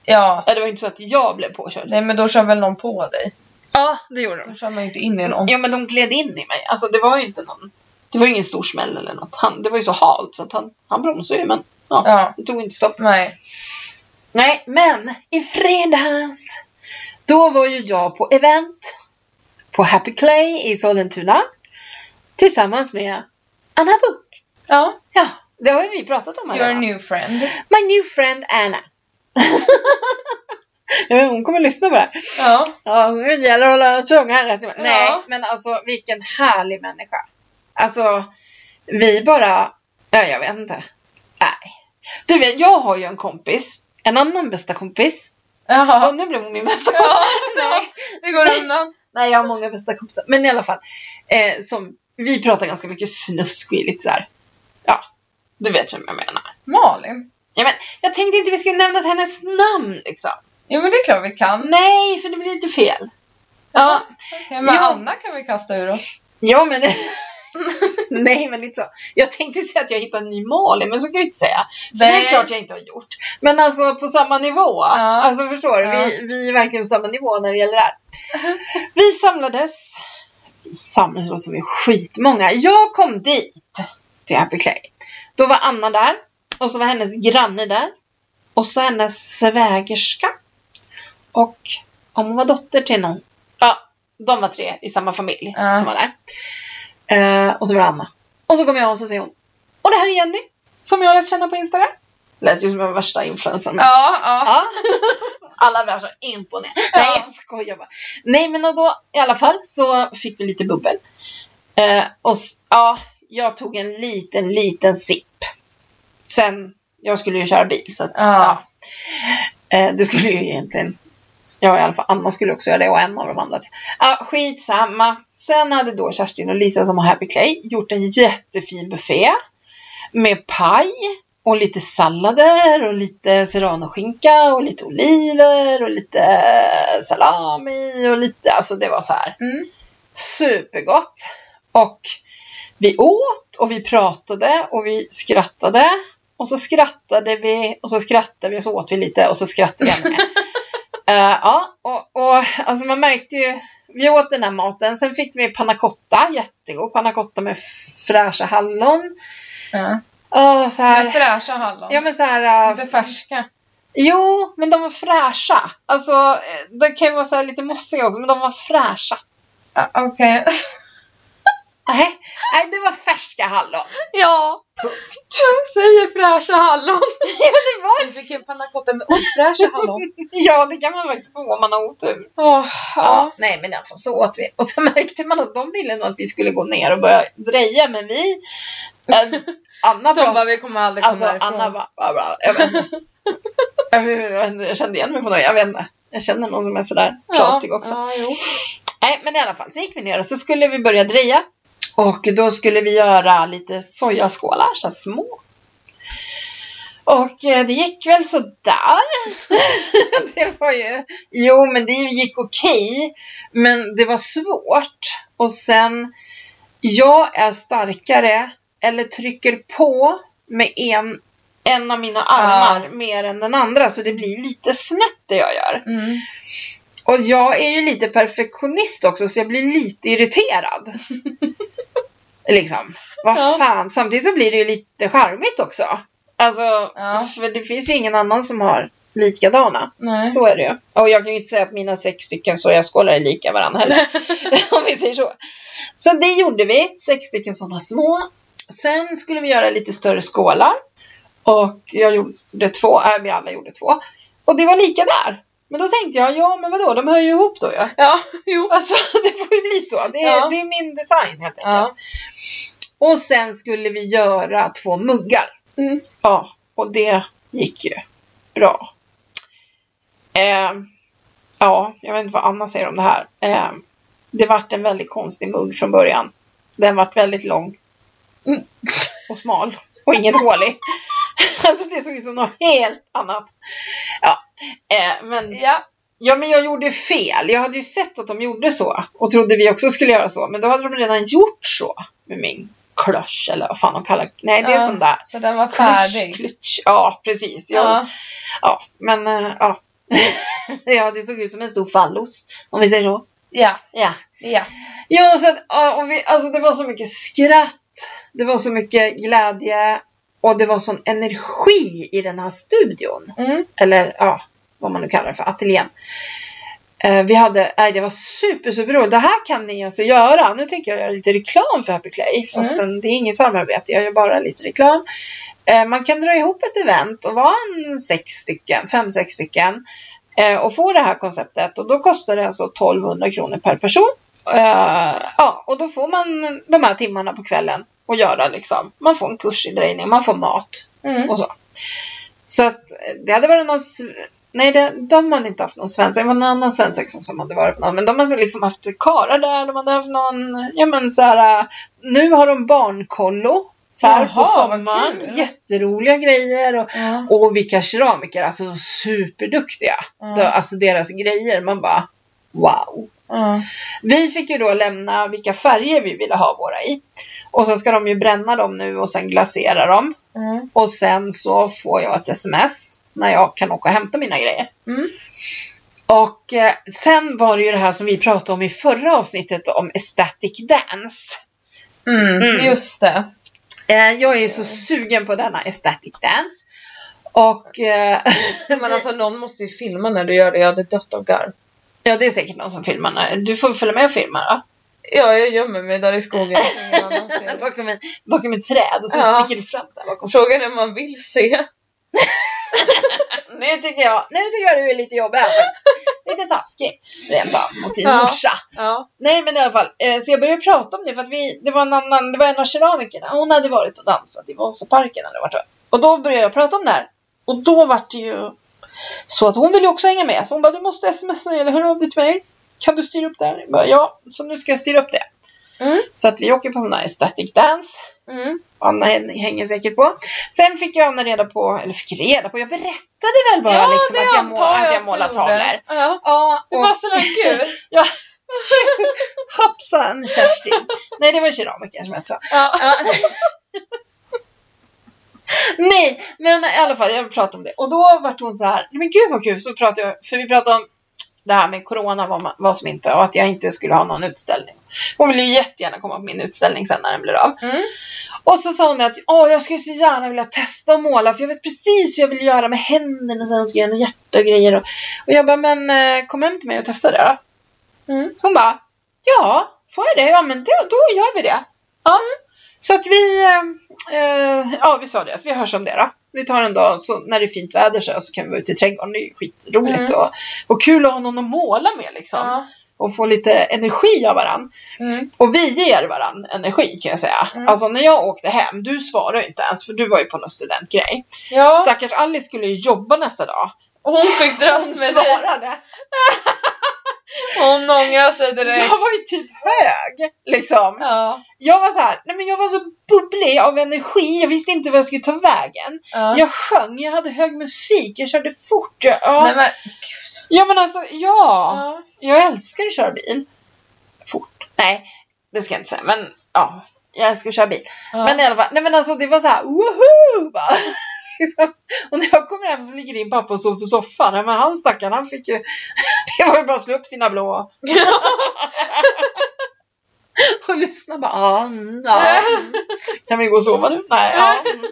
S2: ja.
S1: Ja, Det var inte så att jag blev påkörd.
S2: Nej, men då kör väl någon på dig?
S1: Ja, det gjorde
S2: Då
S1: de.
S2: kör man ju inte in i någon.
S1: Ja, men de gled in i mig. Alltså det var ju inte någon... Det var ju ingen stor smäll eller något. Han, det var ju så halt så att han, han bromsade ju men ja,
S2: Ja.
S1: det tog inte stopp.
S2: Nej.
S1: Nej, men i fredags då var ju jag på event på Happy Clay i Sollentuna tillsammans med Anna Bunk.
S2: Ja.
S1: Ja, det har ju vi pratat om här
S2: Your
S1: redan.
S2: new friend.
S1: My new friend Anna. ja, men hon kommer lyssna på det här.
S2: Ja.
S1: Ja, nu gäller det att hålla tungan rätt i mun.
S2: Ja.
S1: Nej, men alltså vilken härlig människa. Alltså, vi bara... Ja, jag vet inte. Nej. Du vet, jag har ju en kompis. En annan bästa kompis. Ja,
S2: Jaha.
S1: nu blev hon min bästa kompis.
S2: Ja.
S1: Nej.
S2: Det går undan.
S1: Nej, jag har många bästa kompisar. Men i alla fall. Eh, som, vi pratar ganska mycket snusk och lite så här. Ja, du vet vem jag menar.
S2: Malin.
S1: Ja, men, jag tänkte inte vi skulle nämna hennes namn liksom.
S2: Jo, men det är klart vi kan.
S1: Nej, för det blir inte fel. Ja,
S2: Ja, men
S1: Ja.
S2: Anna kan vi kasta ur oss.
S1: Ja, men... Nej, men inte så. Jag tänkte säga att jag hittade en ny Malin, men så kan jag ju inte säga. För det är
S2: Nej.
S1: klart jag inte har gjort. Men alltså på samma nivå.
S2: Ja.
S1: Alltså förstår du?
S2: Ja.
S1: Vi, vi är verkligen på samma nivå när det gäller det här. Vi samlades. Vi samlades låter som vi är skitmånga. Jag kom dit till Happy Clay. Då var Anna där. Och så var hennes granne där. Och så hennes svägerska. Och om hon var dotter till någon. Ja, de var tre i samma familj
S2: Ja.
S1: som var där. Eh, och så var det Anna. Och så kom jag och så säger hon. Och det här är Jenny. Som jag har lärt känna på Instagram. Lät ju som den värsta influencern. men-
S2: Ja, ja.
S1: Ja. Alla blev så imponerade.
S2: Ja.
S1: Nej, jag skojar bara. Nej, men och då i alla fall så fick vi lite bubbel. Eh, och s- ja, jag tog en liten, liten sipp. Sen, jag skulle ju köra bil så att,
S2: Ja.
S1: ja. Eh, det skulle ju egentligen, ja i alla fall Anna skulle också göra det och en av de andra. Ja, skitsamma. Sen hade då Kerstin och Lisa som har Happy Clay gjort en jättefin buffé med paj och lite sallader och lite serranoskinka och lite oliver och lite salami och lite, alltså det var så här
S2: Mm.
S1: supergott. Och vi åt och vi pratade och vi skrattade. Och så skrattade vi och så skrattade vi och så åt vi lite och så skrattade vi ännu mer. Eh, ja, och, och alltså man märkte ju. Vi åt den här maten. Sen fick vi panna cotta, jättegod panna cotta med fräscha hallon.
S2: ja.
S1: Uh, så
S2: Med
S1: här,
S2: fräscha hallon.
S1: ja men så här. eh,
S2: Inte färska.
S1: jo, men de var fräscha. Alltså, eh, de kan ju vara så här lite mossiga också, men de var fräscha.
S2: Ja, Okej.
S1: Nej, nej, det var färska hallon.
S2: Ja. Jag säger fräscha hallon.
S1: ja, det var
S2: Vi fick en pannacotta med ofräscha hallon.
S1: Ja, det kan man faktiskt få om man har otur.
S2: Åh, ja.
S1: Ja. Nej, men i alla fall så åt vi. Och sen märkte man att de ville nog att vi skulle gå ner och börja dreja, men vi... Eh, Anna
S2: De bara,
S1: pratade...
S2: vi kommer aldrig komma
S1: Alltså,
S2: härifrån.
S1: Anna bara... bara, bara jag, vet inte. jag, vet- jag vet inte, jag kände igen mig på någon. Jag vet inte. Jag känner någon som är sådär pratig också.
S2: Ja, jo.
S1: Nej, men i alla fall så gick vi ner och så skulle vi börja dreja. Och då skulle vi göra lite sojaskålar, så här små. Och eh, det gick väl så där. det var ju... Jo, men det gick okej. Men det var svårt. Och sen, jag är starkare eller trycker på med en, en av mina armar mer än den andra. Så det blir lite snett det jag gör.
S2: Mm.
S1: Och jag är ju lite perfektionist också så jag blir lite irriterad. liksom. Vad
S2: Ja.
S1: fan. Samtidigt så blir det ju lite charmigt också. Alltså,
S2: Ja.
S1: för det finns ju ingen annan som har likadana.
S2: Nej.
S1: Så är det ju. Och jag kan ju inte säga att mina sex stycken sojaskålar är lika varandra heller. Om vi säger så. Så det gjorde vi. Sex stycken sådana små. Sen skulle vi göra lite större skålar. Och jag gjorde två. Äh, vi alla gjorde två. Och det var lika där. Men då tänkte jag, ja men vadå, de hör ju ihop då ja.
S2: Ja, jo.
S1: Alltså det får ju bli så. Det är,
S2: Ja.
S1: det är min design helt enkelt.
S2: Ja.
S1: Och sen skulle vi göra två muggar.
S2: Mm.
S1: Ja, och det gick ju bra. Eh, ja, jag vet inte vad Anna säger om det här. Eh, det vart en väldigt konstig mugg från början. Den vart väldigt lång.
S2: Mm.
S1: Och smal. Och inget hål i. Alltså det såg ut som något helt annat. Ja, eh, men
S2: ja.
S1: Ja, men jag gjorde fel. Jag hade ju sett att de gjorde så och trodde vi också skulle göra så. Men då hade de redan gjort så med min klösch eller vad fan de kallar Nej, det är
S3: Ja,
S1: sån där.
S3: Så den var
S1: Klösch,
S3: färdig.
S1: klutsch. Ja, precis. Jag, ja.
S3: Ja.
S1: men eh, ja. ja, det såg ut som en stor fallos om vi säger så.
S3: Ja.
S1: Ja.
S3: Ja.
S1: Ja, så att, ja, och vi, alltså det var så mycket skratt, det var så mycket glädje och det var sån energi i den här studion.
S3: Mm.
S1: Eller ja, vad man nu kallar det för, ateljén. Eh, vi hade, nej det var super, super roligt. Det här kan ni alltså göra. Nu tänker jag göra lite reklam för Happy Clay. Fast det är inget samarbete, jag gör bara lite reklam. Eh, man kan dra ihop ett event och vara en sex stycken, fem, sex stycken. eh, och få det här konceptet. Och då kostar det alltså 1200 kronor per person. Eh, ja, och då får man de här timmarna på kvällen och göra liksom. Man får en kurs i drejning, man får mat
S3: Mm.
S1: och så. Så att eh, det hade varit någon... s- Nej, det, de hade inte haft någon svensexa. Det var någon annan svensexa som hade varit på någon. Men de hade liksom haft karlar där. De hade haft någon... Ja, men så här... eh, Nu har de barnkollo. Så här
S3: Jaha,
S1: på
S3: vad
S1: sommaren.
S3: kul.
S1: Jätteroliga grejer. Och,
S3: Ja.
S1: och vilka keramiker. Alltså superduktiga.
S3: Ja.
S1: Då- Alltså deras grejer. Man bara... Wow.
S3: Ja.
S1: Vi fick ju då lämna vilka färger vi ville ha våra i. Och så ska de ju bränna dem nu och sen glasera dem.
S3: Mm.
S1: Och sen så får jag ett sms när jag kan åka och hämta mina grejer.
S3: Mm.
S1: Och eh, sen var det ju det här som vi pratade om i förra avsnittet om ecstatic dance.
S2: Mm.
S1: Mm.
S3: Just det.
S1: Eh, jag är ju så sugen på denna ecstatic dance. Och eh,
S2: Men alltså någon måste ju filma när du gör det. Jag hade dött av garv.
S1: ja, det är säkert någon som filmar. när- Du får följa med och filma då.
S2: Ja, jag gömmer mig där i skogen. Ingen annan ser.
S1: Bakom, en, bakom ett träd och så
S2: Ja.
S1: sticker du fram så här bakom.
S2: Frågan är om man vill se.
S1: Nu tycker jag, nu tycker jag du är lite jobbig här. faktiskt. Lite taskig. Rent av mot din
S2: Ja.
S1: morsa.
S2: Ja.
S1: Nej men i alla fall, eh, så jag började prata om det för att vi, det var en annan, det var en av keramikerna, hon hade varit och dansat i Vasaparken eller vart det var. Och då började jag prata om det här. Och då var det ju så att hon ville ju också hänga med. Så hon bara, du måste smsa eller höra av dig till mig. Kan du styra upp det här? Jag bara, ja, så nu ska jag styra upp det.
S3: Mm.
S1: Så att vi åker på sån här static dance.
S3: Mm.
S1: Anna häng- hänger säkert på. Sen fick jag Anna reda på, eller fick reda på, jag berättade väl bara liksom att jag, må,
S2: antar
S1: att jag
S2: du
S1: målar
S2: gjorde.
S1: tavlor.
S2: Ja.
S1: Ja,
S2: Det
S1: och-
S2: var sådär kul.
S1: Hoppsan Kerstin. Nej, det var keramiker som hette så.
S2: Ja.
S1: Nej, men i alla fall, jag pratade om det. Och då vart hon så här, "Nej, men gud vad kul, så pratade jag, för vi pratade om det här med corona, vad, man, vad som inte, och att jag inte skulle ha någon utställning. Hon ville ju jättegärna komma på min utställning sen när den blir av.
S3: Mm.
S1: Och så sa hon att Åh, jag skulle så gärna vilja testa att måla, för jag vet precis hur jag vill göra med händerna, sen ska jag göra hjärta och grejer. Och, och jag bara, men eh, kom hem till mig och testa det då.
S3: Mm.
S1: Så hon bara, ja, får jag det? Ja, men det, då gör vi det. Ja. Så att vi, eh, eh, ja vi sa det, att vi hörs om det då. Vi tar en dag, så när det är fint väder så, så kan vi vara ute i trädgården, det är ju skitroligt.
S3: Mm.
S1: Och, och kul att ha någon att måla med liksom.
S3: Ja.
S1: Och få lite energi av varann.
S3: Mm.
S1: Och vi ger varann energi kan jag säga.
S3: Mm.
S1: Alltså när jag åkte hem, du svarade ju inte ens för du var ju på någon studentgrej.
S3: ja.
S1: Stackars Alice skulle ju jobba nästa dag.
S2: Och hon fick
S1: Hon
S2: dras med det.
S1: svarade.
S2: Hon ångrar sig direkt.
S1: Jag var ju typ hög liksom.
S2: Ja.
S1: Jag var så här, nej men jag var så bubblig av energi, jag visste inte vad jag skulle ta vägen.
S3: Ja.
S1: Jag sjöng, jag hade hög musik, jag körde fort. Jag, ja.
S3: Nej, men,
S1: ja men alltså, ja.
S3: ja.
S1: Jag älskar att köra bil. Fort. Nej, det ska jag inte säga, men ja. Jag älskar att köra bil.
S3: Ja.
S1: Men i alla fall, nej men alltså det var så här, woho! Bara. Liksom. Och när jag kommer hem så ligger din pappa och sover på soffan. Ja, men han stackaren, han fick ju... Det var ju bara att slå upp sina blå. och lyssna bara, ah, mm, ja. Kan vi gå och sova nu? Nej, ja. mm.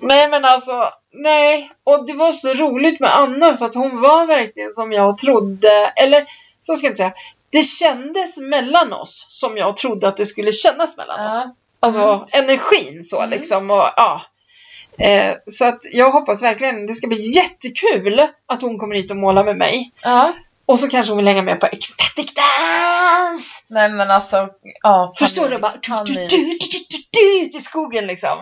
S1: Nej men alltså, nej. Och det var så roligt med Anna för att hon var verkligen som jag trodde, eller så ska jag inte säga. Det kändes mellan oss som jag trodde att det skulle kännas mellan oss.
S3: Ja.
S1: Alltså energin så
S3: Mm.
S1: liksom. Och, ja. eh, så att jag hoppas verkligen, det ska bli jättekul att hon kommer hit och målar med mig.
S3: ja.
S1: Och så kanske hon vill hänga med på Ecstatic Dance!
S3: Nej men alltså, ja.
S1: Förstår du?
S3: panik,
S1: Bara, du, du, du,
S3: panik.
S1: du, du, du, du, till skogen liksom.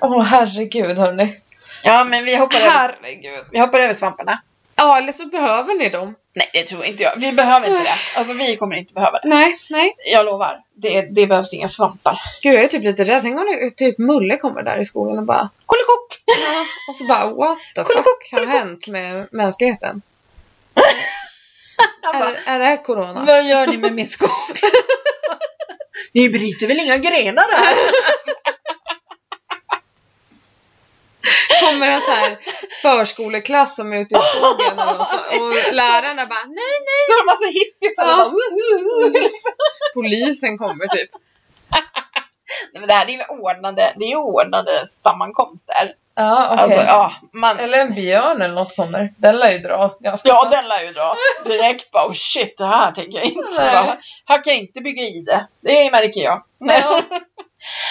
S3: Åh herregud hörni.
S1: Ja, men vi hoppar, över,
S3: Herregud.
S1: vi hoppar över svamparna.
S2: Ja, eller så behöver ni dem.
S1: Nej, det tror inte jag. Vi behöver inte det. Alltså, vi kommer inte behöva det.
S2: Nej, nej.
S1: Jag lovar. Det, det behövs inga svampar.
S2: Gud, jag är typ lite rädd. Tänk om det, typ Mulle kommer där i skogen och bara...
S1: Kollikock!
S2: Och så bara what the fuck har hänt med mänskligheten?
S1: Han bara,
S2: Är, är det här corona?
S1: vad gör ni med min skog? ni bryter väl inga grenar här?
S2: kommer en så här förskoleklass som är ute i skogen och, och lärarna bara nej,
S1: Står en massa hippisar och
S2: Ja.
S1: bara, "Woho!"
S3: Mm.
S2: polisen kommer typ.
S1: Nej, men det här är ju ordnade, det är ju ordnade sammankomster.
S3: Ja, okej.
S1: Alltså, ja, man,
S3: Eller en björn eller något kommer. Den lär ju dra ganska
S1: ja,
S3: snabbt.
S1: den lär ju dra direkt bara, oh shit, det här tänker jag inte.
S3: Nej.
S1: Bara, här kan jag inte bygga i det. Det märker jag. Nej.
S3: Ja.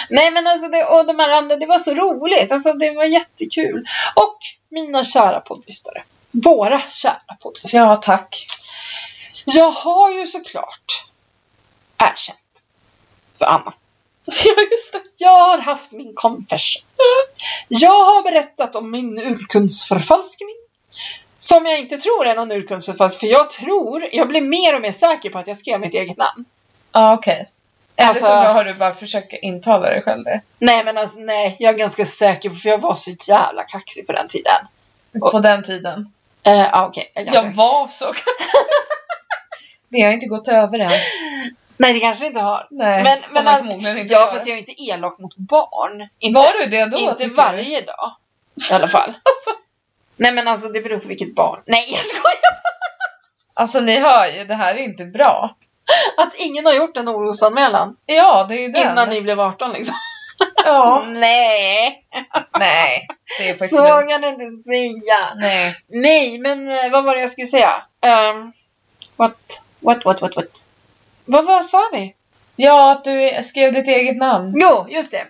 S1: Nej men alltså det, och de här andra, det var så roligt. Alltså det var jättekul. Och mina kära poddlyssnare. Våra kära poddlyssnare.
S3: ja, tack.
S1: Jag har ju såklart erkänt för Anna.
S3: Ja, just det.
S1: Jag har haft min confession. Jag har berättat om min urkundsförfalskning. Som jag inte tror är någon urkundsförfalskning. För jag tror, jag blir mer och mer säker på att jag skrev mitt eget namn.
S3: Ja, okej. Eller
S1: Alltså-
S3: så bara har du bara försökt intala dig själv det.
S1: Nej men alltså nej, jag är ganska säker på- för jag var så jävla kaxig på den tiden.
S3: På den tiden.
S1: Eh, ah, okej, jag är ganska
S3: Jag var så Det har inte gått över än.
S1: Nej, det kanske inte har.
S3: Nej,
S1: Men-
S3: kommer
S1: men
S3: jag
S1: att-
S3: förmodligen inte
S1: Ja,
S3: göra.
S1: fast jag är inte elak mot barn. Inte,
S3: Var du det då?
S1: inte
S3: tycker du?
S1: varje dag. I alla fall.
S3: Alltså.
S1: Nej, men alltså det beror på vilket barn. Nej, jag skojar!
S3: Alltså ni hör ju, det här är inte bra.
S1: Att ingen har gjort en orosanmälan
S3: Ja, det är ju den.
S1: innan ni blev 18 liksom.
S3: Ja.
S1: Nej,
S3: Nej, det är faktiskt
S1: så
S3: lugnt.
S1: kan du inte säga.
S3: Nej.
S1: Nej, men eh, vad var det jag skulle säga? Ehm, what, what, what, what, what? Vad, vad sa vi?
S3: Ja, att du skrev ditt eget namn.
S1: Jo, just det.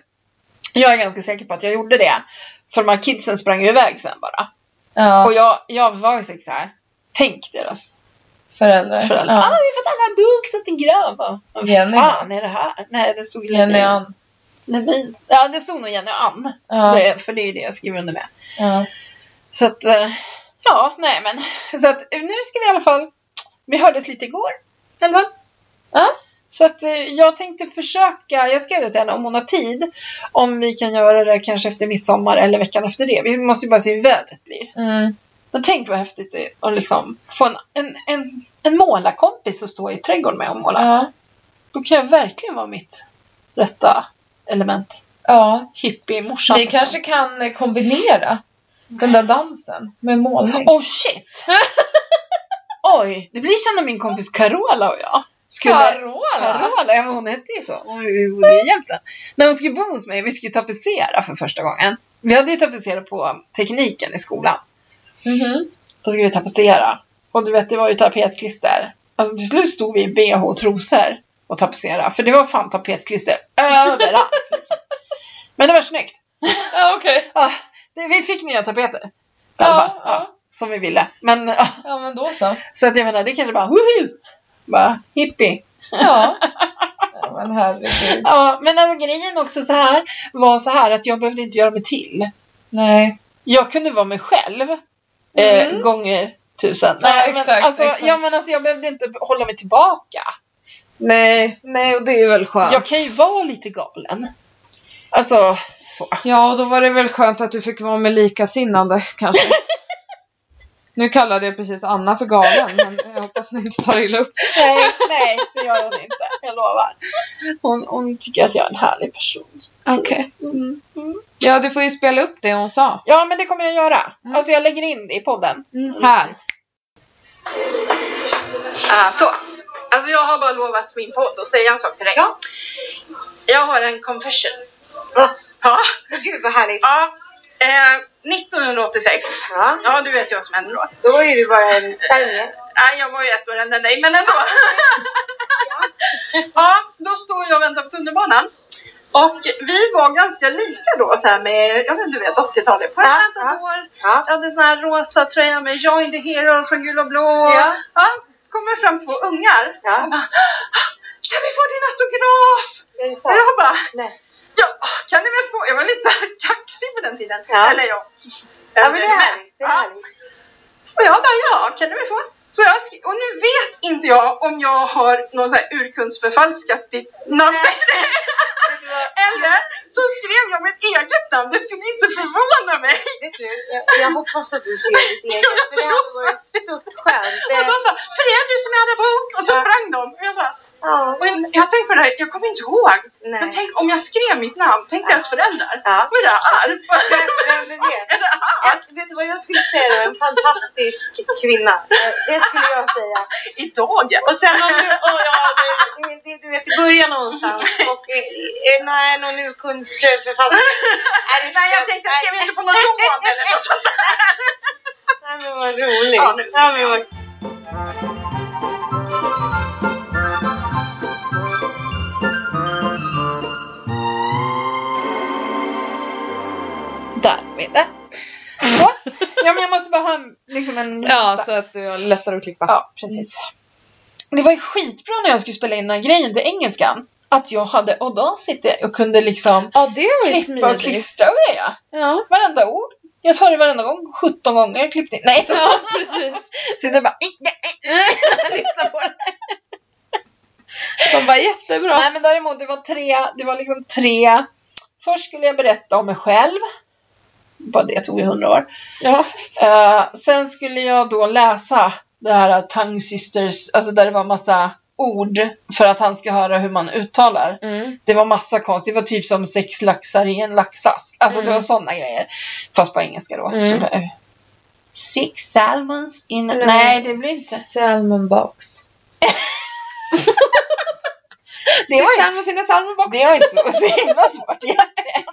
S1: Jag är ganska säker på att jag gjorde det. För de här kidsen sprang ju iväg sen bara.
S3: Ja,
S1: Och jag, jag var ju så här. Tänk deras
S3: föräldrar.
S1: föräldrar. Ah,
S3: Ja.
S1: vi har fått alla en bok, satt en grav. Bara, Vad
S3: Jenny.
S1: fan är det här? Nej, det stod
S3: Jenny
S1: Levin.
S3: Ann.
S1: Levin. Ja, det stod nog Jenny Ann.
S3: Ja,
S1: Det, för det är ju det jag skriver under med.
S3: ja.
S1: Så att, eh, ja, nej men. Så att eh, nu ska vi i alla fall, vi hördes lite igår. i alla fall.
S3: Ja.
S1: Så att eh, jag tänkte försöka, jag skrev det till henne om hon har tid. Om vi kan göra det kanske efter midsommar eller veckan efter det. Vi måste ju bara se hur vädret blir.
S3: Mm.
S1: Men tänk vad häftigt det är att liksom få en, en, en, en målarkompis att stå i trädgården med och måla.
S3: ja.
S1: Då kan jag verkligen vara mitt rätta element.
S3: ja.
S1: Hippie-morsan.
S3: Ni kanske kan eh, kombinera den där dansen med målning.
S1: Oh shit! Oj, det blir som när min kompis Carola och jag skulle...
S3: Carola!
S1: Carola, ja, men hon hette ju så. Hon bodde ju i Jämtland. När hon skulle bo hos mig, vi skulle tapetsera för första gången. Vi hade ju tapetserat på tekniken i skolan.
S3: Mhm.
S1: Då skulle vi tapetsera. Och du vet, det var ju tapetklister. Alltså till slut stod vi i bh och trosor och tapetserade. För det var fan tapetklister överallt. liksom. Men det var snyggt.
S3: Ja, okej.
S1: Ja, Ah, det, vi fick nya tapeter. I alla fall.
S3: Ja,
S1: Ja,
S3: ja.
S1: Som vi ville. Men ja,
S3: ja, men då så.
S1: så att jag menar, det kanske bara woho! Bara hippie.
S3: Ja. ja men herregud.
S1: Ja, men alltså, grejen också så här var så här att jag behövde inte göra mig till.
S3: Nej.
S1: Jag kunde vara mig själv. Eh,
S3: Mm.
S1: gånger tusen.
S3: Ja,
S1: Nej, men,
S3: exakt,
S1: alltså,
S3: exakt.
S1: Ja, men alltså jag behövde inte hålla mig tillbaka.
S2: Nej, nej och det är väl skönt.
S1: Jag kan ju vara lite galen. Alltså, så.
S2: Ja, och då var det väl skönt att du fick vara med likasinnande kanske. nu kallade jag precis Anna för galen, men jag hoppas ni inte tar illa upp.
S1: Nej, nej, det gör hon inte. Jag lovar. Hon, hon tycker att jag är en härlig person.
S2: Okej.
S1: Mm. Mm.
S2: Ja, du får ju spela upp det hon sa.
S1: Ja, men det kommer jag göra.
S2: Mm.
S1: Alltså, jag lägger in det i podden.
S2: Här.
S1: Ah, så. Alltså jag har bara lovat min podd att säga en sak till dig. Ja. Jag har en confession. Ja. ja. Gud vad härligt. Ja. Eh, 1986. Ja. ja, du vet ju vad som hände då. Då var ju du bara en spermie. Nej, jag var ju ett år äldre än dig, men ändå. ja, då står jag och väntar på tunnelbanan. Och vi var ganska lika då, så här med, jag vet inte, du vet 80-talet. På ja, ja, Jag hade sån här rosa tröja med Join the Hero från gul och blå.
S4: Ja.
S1: Ja, kommer fram två ungar.
S4: Ja.
S1: Och bara, "Ah, kan vi få din autograf?
S4: Är det
S1: Och
S4: sant?
S1: jag bara,
S4: Nej.
S1: ja, kan ni väl få? Jag var lite så här kaxig på den tiden.
S4: Ja.
S1: Eller ja.
S4: Ja, men det är
S1: Men,
S4: härligt. Det är
S1: ja.
S4: härligt.
S1: Och jag bara, ja, kan ni väl få? Så jag skri- och nu vet inte jag om jag har någon så här urkundsförfalskat ditt namn.
S4: Vet du vad-
S1: Eller så skrev jag mitt eget namn. Det skulle inte förvåna mig.
S4: vet du, jag, jag hoppas att du skrev ditt eget.
S1: Jag
S4: För det hade varit så upp själv.
S5: Och
S4: Det,
S5: de bara, för det är du som är Anna Bok! Och så
S4: Ja.
S5: sprang de. Och jag bara,
S4: ja,
S5: och jag, jag tänkte på det här, jag kommer inte ihåg. Men
S4: nej.
S5: tänk om jag skrev mitt namn, tänk
S4: Ja.
S5: deras föräldrar.
S4: Ja.
S5: Vad är det här?
S4: Vem, vem blev det? Jag, vet du vad jag skulle säga då? En fantastisk kvinna. Det skulle jag säga.
S5: Idag?
S4: Och sen om du, oh ja, det, det- det, du vet i början någonstans och eh, eh, nej, någon urkundsförfattare.
S5: Nej, jag tänkte jag skrev inte på någon lån eller något sånt.
S4: Nej men vad roligt.
S5: Ja, nu ska
S4: Ja, men vad
S6: Där med det.
S1: Ja, men jag måste bara ha en, liksom en...
S2: Ja, så att du har lättare att klippa.
S1: Ja, precis. Det var ju skitbra när jag skulle spela in den här grejen till engelskan. Att jag hade Audacity och kunde liksom
S2: Ja, det var ju
S1: klippa och
S2: smidigt.
S1: klistra och grejer.
S2: Ja,
S1: Varenda ord. Jag sa det varenda gång. 17 gånger klippte in. Nej!
S2: ja precis.
S1: Tills jag bara... Lyssna på det.
S2: De var jättebra.
S1: Nej men däremot, det var tre, det var liksom tre. Först skulle jag berätta om mig själv. Bara det tog ju hundra år.
S2: Ja.
S1: Eh, sen skulle jag då läsa det här Tongue Sisters, alltså där det var massa ord för att han ska höra hur man uttalar.
S2: Mm.
S1: Det var massa konst. Det var typ som sex laxar i en laxask. Alltså det
S2: Mm.
S1: var sådana grejer. Fast på engelska då.
S2: Mm.
S1: Sådär. Six salmons in... Nej, det blir inte...
S2: Salmon box.
S1: Det
S2: Six
S1: var ju-
S2: salmon sina salmon box.
S1: Det var inte så, så himla svårt egentligen.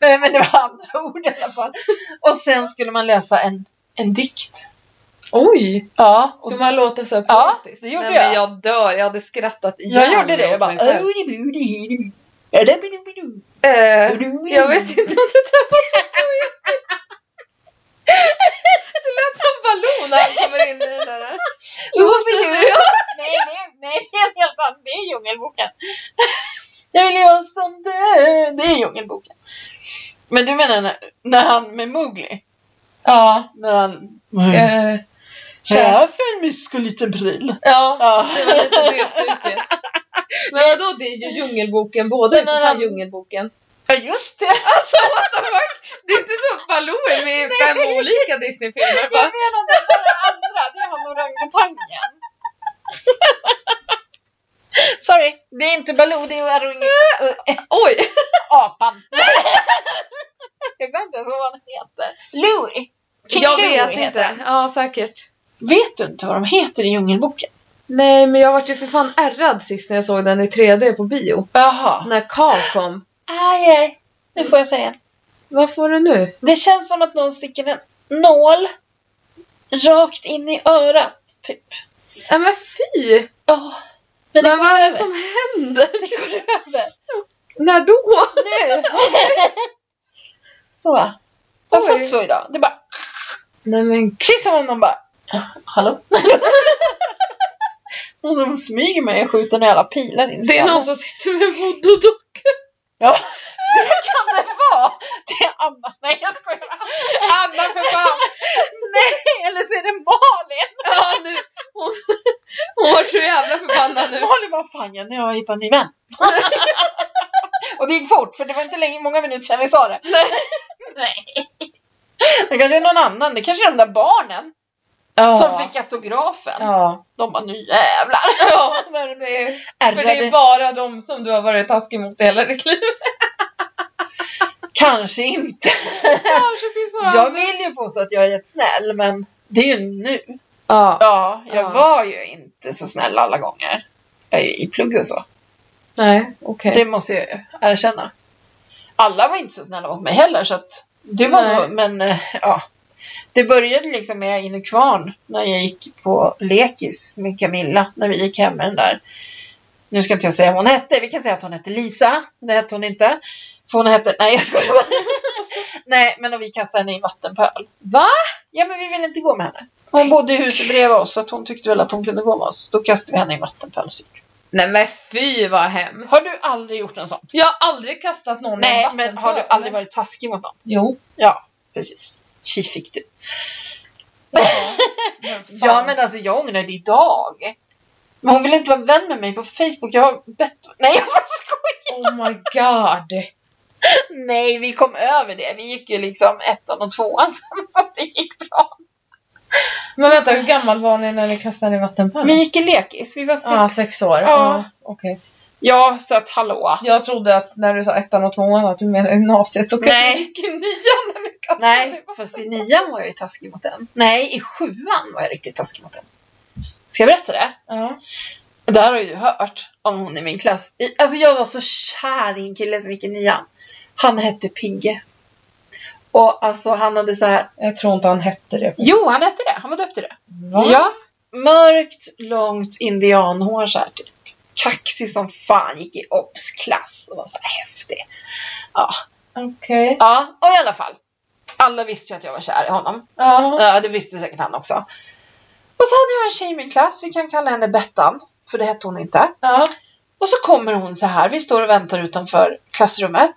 S1: Nej, men det var andra ord i alla fall. Och sen skulle man läsa en, en dikt.
S2: Oj!
S1: Ja,
S2: Ska
S1: och,
S2: man låta så poetiskt?
S1: ja det gjorde
S2: Nej,
S1: jag.
S2: men jag dör. Jag hade skrattat
S1: Jag
S2: ihjäl
S1: gjorde det.
S2: åt
S1: Jag bara...
S2: mig själv.
S1: "Odibudibudu, adabidubidu,
S2: Eh,
S1: odubidubidu."
S2: jag vet inte om det där var så poetiskt. Det lät som Baloo när han kommer in i den där.
S1: Obidu. Nej, nej, nej, det är en helt annan. Det är Djungelboken. Jag vill leva som du. Det är Djungelboken. Men du menar när, när han med Mowgli?
S2: Ja.
S1: När han...
S2: Eh,
S1: Vad är det Mm. här för en mysko liten pryl?
S2: ja.
S1: Ja.
S2: Det var lite det stycket. Men vadå, det är ju Djungelboken. Båda är för fan Djungelboken.
S1: Ja, just det. Alltså, what the fuck?
S2: Det är inte så att Baloo är med i fem olika Disney-filmer.
S1: Jag
S2: va?
S1: menade bara andra. Det var orangutangen. Sorry, det är inte Baloo, det är orang-
S2: Oj!
S1: apan. Jag kommer inte ens ihåg vad han heter. Louie. King
S2: Jag
S1: Louie
S2: vet
S1: heter
S2: inte.
S1: han.
S2: Ja, säkert.
S1: Vet du inte vad de heter i Djungelboken?
S2: Nej, men jag vart ju för fan ärrad sist när jag såg den i 3D på bio.
S1: Jaha.
S2: När Carl kom.
S1: Aj, aj. Nu får jag säga.
S2: Vad får du nu?
S1: Det känns som att någon sticker en nål rakt in i örat, typ.
S2: Ja, men fy!
S1: Ja.
S2: Men,
S1: det
S2: vad
S1: går
S2: är det
S1: över.
S2: som händer?
S1: Det går över.
S2: När då?
S1: Nu! så. Jag har
S2: Oj.
S1: fått så idag. Det är bara
S2: Nej men
S1: kissar man någon bara Hallå? Och de smyger mig och skjuter några jävla pilar in. i
S2: det är
S1: skallen.
S2: någon som sitter med voodoo
S1: Ja, det kan det vara! Det är Anna. Nej, jag skojar.
S2: Anna för fan!
S1: Nej, eller så är det Malin!
S2: Ja, nu. Hon, hon var så jävla förbannad nu.
S1: Malin bara, fan jag, nu har jag hittat en ny vän. och det gick fort, för det var inte länge, många minuter sedan vi sa det.
S2: Nej.
S1: Nej. Det kanske är någon annan. Det kanske är de där barnen
S2: Ja.
S1: som fick autografen.
S2: Ja.
S1: De bara, nu jävlar!
S2: ja. Det är, för det är
S1: Ärrade.
S2: bara de som du har varit taskig mot i hela ditt liv.
S1: Kanske inte.
S2: Kanske finns några
S1: Jag
S2: andra.
S1: vill ju påstå att jag är rätt snäll, men det är ju nu.
S2: Ja.
S1: Ja, jag
S2: Ja.
S1: var ju inte så snäll alla gånger. Jag är ju I plugg och så.
S2: Nej, okej.
S1: Det måste jag ju erkänna. Alla var inte så snälla mot mig heller, så att det var
S2: Nej.
S1: nog, men eh, ja. Det började liksom med in i kvarn när jag gick på lekis med Camilla, när vi gick hem med den där. Nu ska inte jag säga vad hon hette, vi kan säga att hon hette Lisa. Det hette hon inte. För hon hette, nej jag skojar bara. nej, men när vi kastade henne i en vattenpöl.
S2: Va?
S1: Ja, men vi ville inte gå med henne. Hon bodde i huset bredvid oss, så att hon tyckte väl att hon kunde gå med oss. Då kastade vi henne i en vattenpöl.
S2: Nej men fy vad hemskt.
S1: Har du aldrig gjort något sånt?
S2: Jag har aldrig kastat någon i en
S1: Nej, men
S2: vattenpöl.
S1: har du aldrig varit taskig mot någon?
S2: Jo.
S1: Precis. Tji fick du.
S2: Men fan.
S1: Ja, men alltså jag ångrar det idag. Men hon vill inte vara vän med mig på Facebook. Jag har bett... Nej, jag bara skojar!
S2: Oh my god.
S1: Nej, vi kom över det. Vi gick ju liksom ettan och tvåan sen, så att det gick bra.
S2: Men vänta, hur gammal var ni när ni kastade i vattenpannan?
S1: Men gick i lekis, vi var sex.
S2: ah, sex år.
S1: Ja.
S2: Ah, okej.
S1: Ja, så att hallå.
S2: Jag trodde att när du sa ettan och tvåan att du menade gymnasiet. Och
S1: Nej.
S2: att du gick i nian när ni kastade
S1: Nej, fast i nian var jag ju taskig mot den. Nej, i sjuan var jag riktigt taskig mot den. Ska jag berätta det?
S2: Ja.
S1: Det här har ju du hört om hon i min klass. I- Alltså jag var så kär i en kille som gick i nian. Han hette Pigge. Och alltså han hade så här.
S2: Jag tror inte han hette det.
S1: Jo, han hette det. Han var döpt till det.
S2: Va?
S1: Ja. Mörkt, långt indianhår så här typ. Kaxig som fan, gick i obs-klass och var så här häftig.
S2: Okej.
S1: Ja, och i alla fall. Alla visste ju att jag var kär i honom.
S2: Ja.
S1: Ja, det visste säkert han också. Och så hade jag en tjej i min klass, vi kan kalla henne Bettan, för det hette hon inte.
S2: Ja.
S1: Och så kommer hon så här, vi står och väntar utanför klassrummet.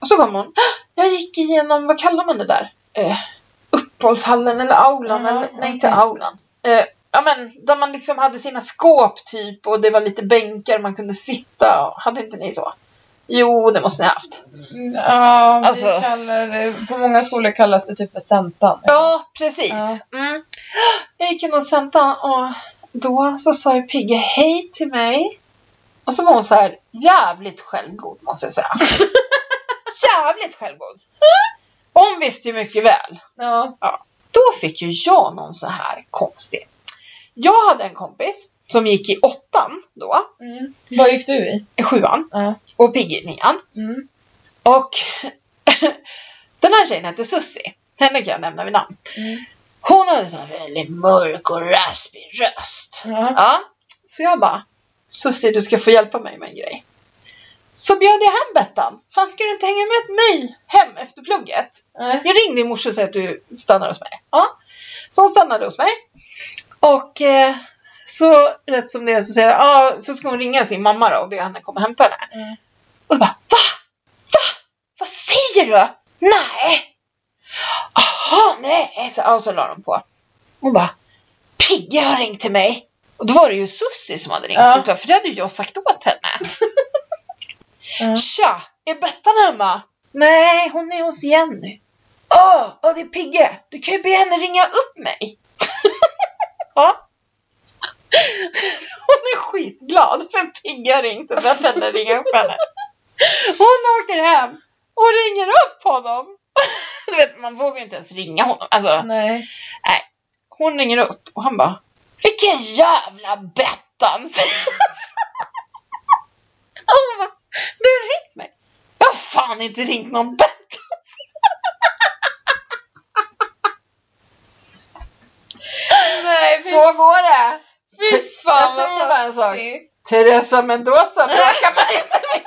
S1: Och så kommer hon, jag gick igenom, vad kallar man det där? Eh, uppehållshallen eller aulan,
S2: Ja,
S1: eller, nej
S2: okej.
S1: inte aulan. Eh, ja men där man liksom hade sina skåp typ och det var lite bänkar man kunde sitta. och- Hade inte ni så? Jo, det måste ni ha haft.
S2: ja vi
S1: Alltså-
S2: kallar det, på många skolor kallas det typ för sentan.
S1: Ja, precis.
S2: Ja.
S1: Mm. Jag gick in och sänta och då så sa ju Pigge hej till mig. Och så var hon så här jävligt självgod måste jag säga. jävligt självgod. Hon visste ju mycket väl.
S2: Ja.
S1: Då fick ju jag någon så här konstig. Jag hade en kompis som gick i åttan då,
S2: Mm. Vad gick du i?
S1: i sjuan
S2: Ja.
S1: och Pigge i nian.
S2: Mm.
S1: Och den här tjejen hette Sussi. Henne kan jag nämna vid namn.
S2: Mm.
S1: Hon hade en sån här väldigt mörk och raspig röst.
S2: Ja.
S1: Ja. Så jag bara, Sussi du ska få hjälpa mig med en grej. Så bjöd jag hem Bettan. Fan ska du inte hänga med mig hem efter plugget?
S2: Nej.
S1: Jag ringde i morse och sa att du stannar hos mig. Ja. Så hon stannade hos mig. Och eh, så rätt som det är så säger jag, ja, så ska hon ringa sin mamma då och be henne komma och hämta henne.
S2: Mm.
S1: Och jag bara, va? Va? Vad säger du? Nej! Jaha, nej! Så, ja, och så la de på. Hon bara, Pigge har ringt till mig. Och då var det ju Sussi som hade ringt
S2: Ja.
S1: såklart, för det hade ju jag sagt åt henne.
S2: Ja.
S1: Tja, är Bettan hemma? Nej, hon är hos Jenny. Åh, åh, det är Pigge. Du kan ju be henne ringa upp mig. ja. Hon är skitglad för Pigge har ringt och bett henne ringa upp henne. Hon åker hem och ringer upp honom. du vet, man vågar ju inte ens ringa honom. Alltså,
S2: Nej.
S1: hon ringer upp och han bara Vilken jävla Bettan! säger han. Och hon bara, du har ringt mig. Jag har fan inte ringt någon Bettan!
S2: Nej, fy,
S1: Så går det!
S2: fy fan
S1: Jag säger bara en sak.
S2: taskigt.
S1: Teresa Mendoza bråkar man inte med.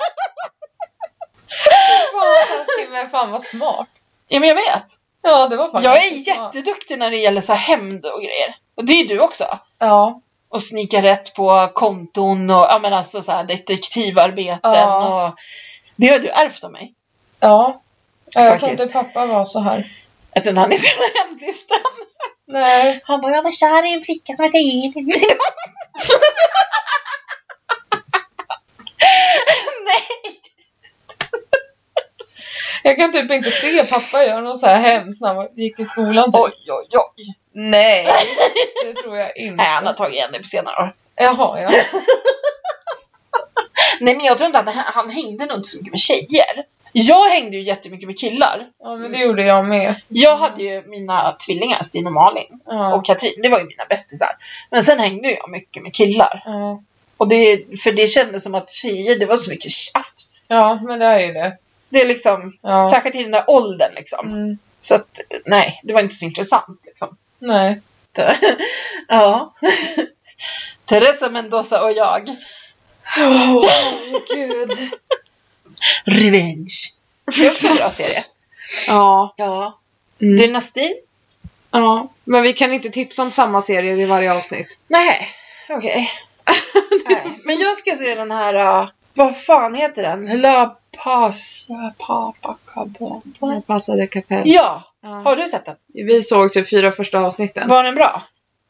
S2: Fy fan vad taskigt, men fan vad smart.
S1: Ja men jag vet.
S2: Ja, det var faktiskt
S1: Jag är
S2: smart.
S1: jätteduktig när det gäller så här hämnd och grejer. Och det är ju du också.
S2: Ja.
S1: Och snika rätt på konton och ja, men alltså så här detektivarbeten.
S2: Ja.
S1: Och, det har du ärvt av mig.
S2: Ja. ja jag tror
S1: Faktiskt.
S2: inte pappa var så här.
S1: Jag tror inte han är så jävla hämndlysten.
S2: Nej.
S1: Han bara, jag var kär i en flicka som hette Elin. Nej!
S2: Jag kan typ inte se pappa göra något så här hemskt när han gick i skolan. Typ.
S1: Oj, oj, oj.
S2: Nej, det tror jag inte.
S1: Nej, han har tagit igen det på senare år.
S2: Jaha, ja.
S1: Nej, men jag tror inte att han, han hängde nog inte så mycket med tjejer. Jag hängde ju jättemycket med killar.
S2: ja. men det gjorde jag med.
S1: Jag hade ju mina tvillingar, Stina och Malin
S2: Ja.
S1: och Katrin. Det var ju mina bästisar. Men sen hängde jag mycket med killar.
S2: Ja.
S1: Och det, för det kändes som att tjejer, det var så mycket tjafs.
S2: ja, men det är ju det.
S1: Det är liksom,
S2: Ja.
S1: särskilt i den där åldern liksom.
S2: Mm.
S1: Så att, nej, det var inte så intressant liksom.
S2: Nej.
S1: Ja. Teresa Mendoza och jag.
S2: Åh, gud.
S1: Revenge. Det är också en bra serie.
S2: Ja.
S1: Ja.
S2: Mm.
S1: Dynastin?
S2: ja. Men vi kan inte tipsa om samma serie vid varje avsnitt.
S1: Nej, okej. Nej. Men jag ska se den här, uh, vad fan heter den? La Paz... Papacabana.
S2: Jag passade kapell.
S1: Ja,
S2: Ja.
S1: har du sett den?
S2: Vi såg typ fyra första avsnitten.
S1: Var den bra?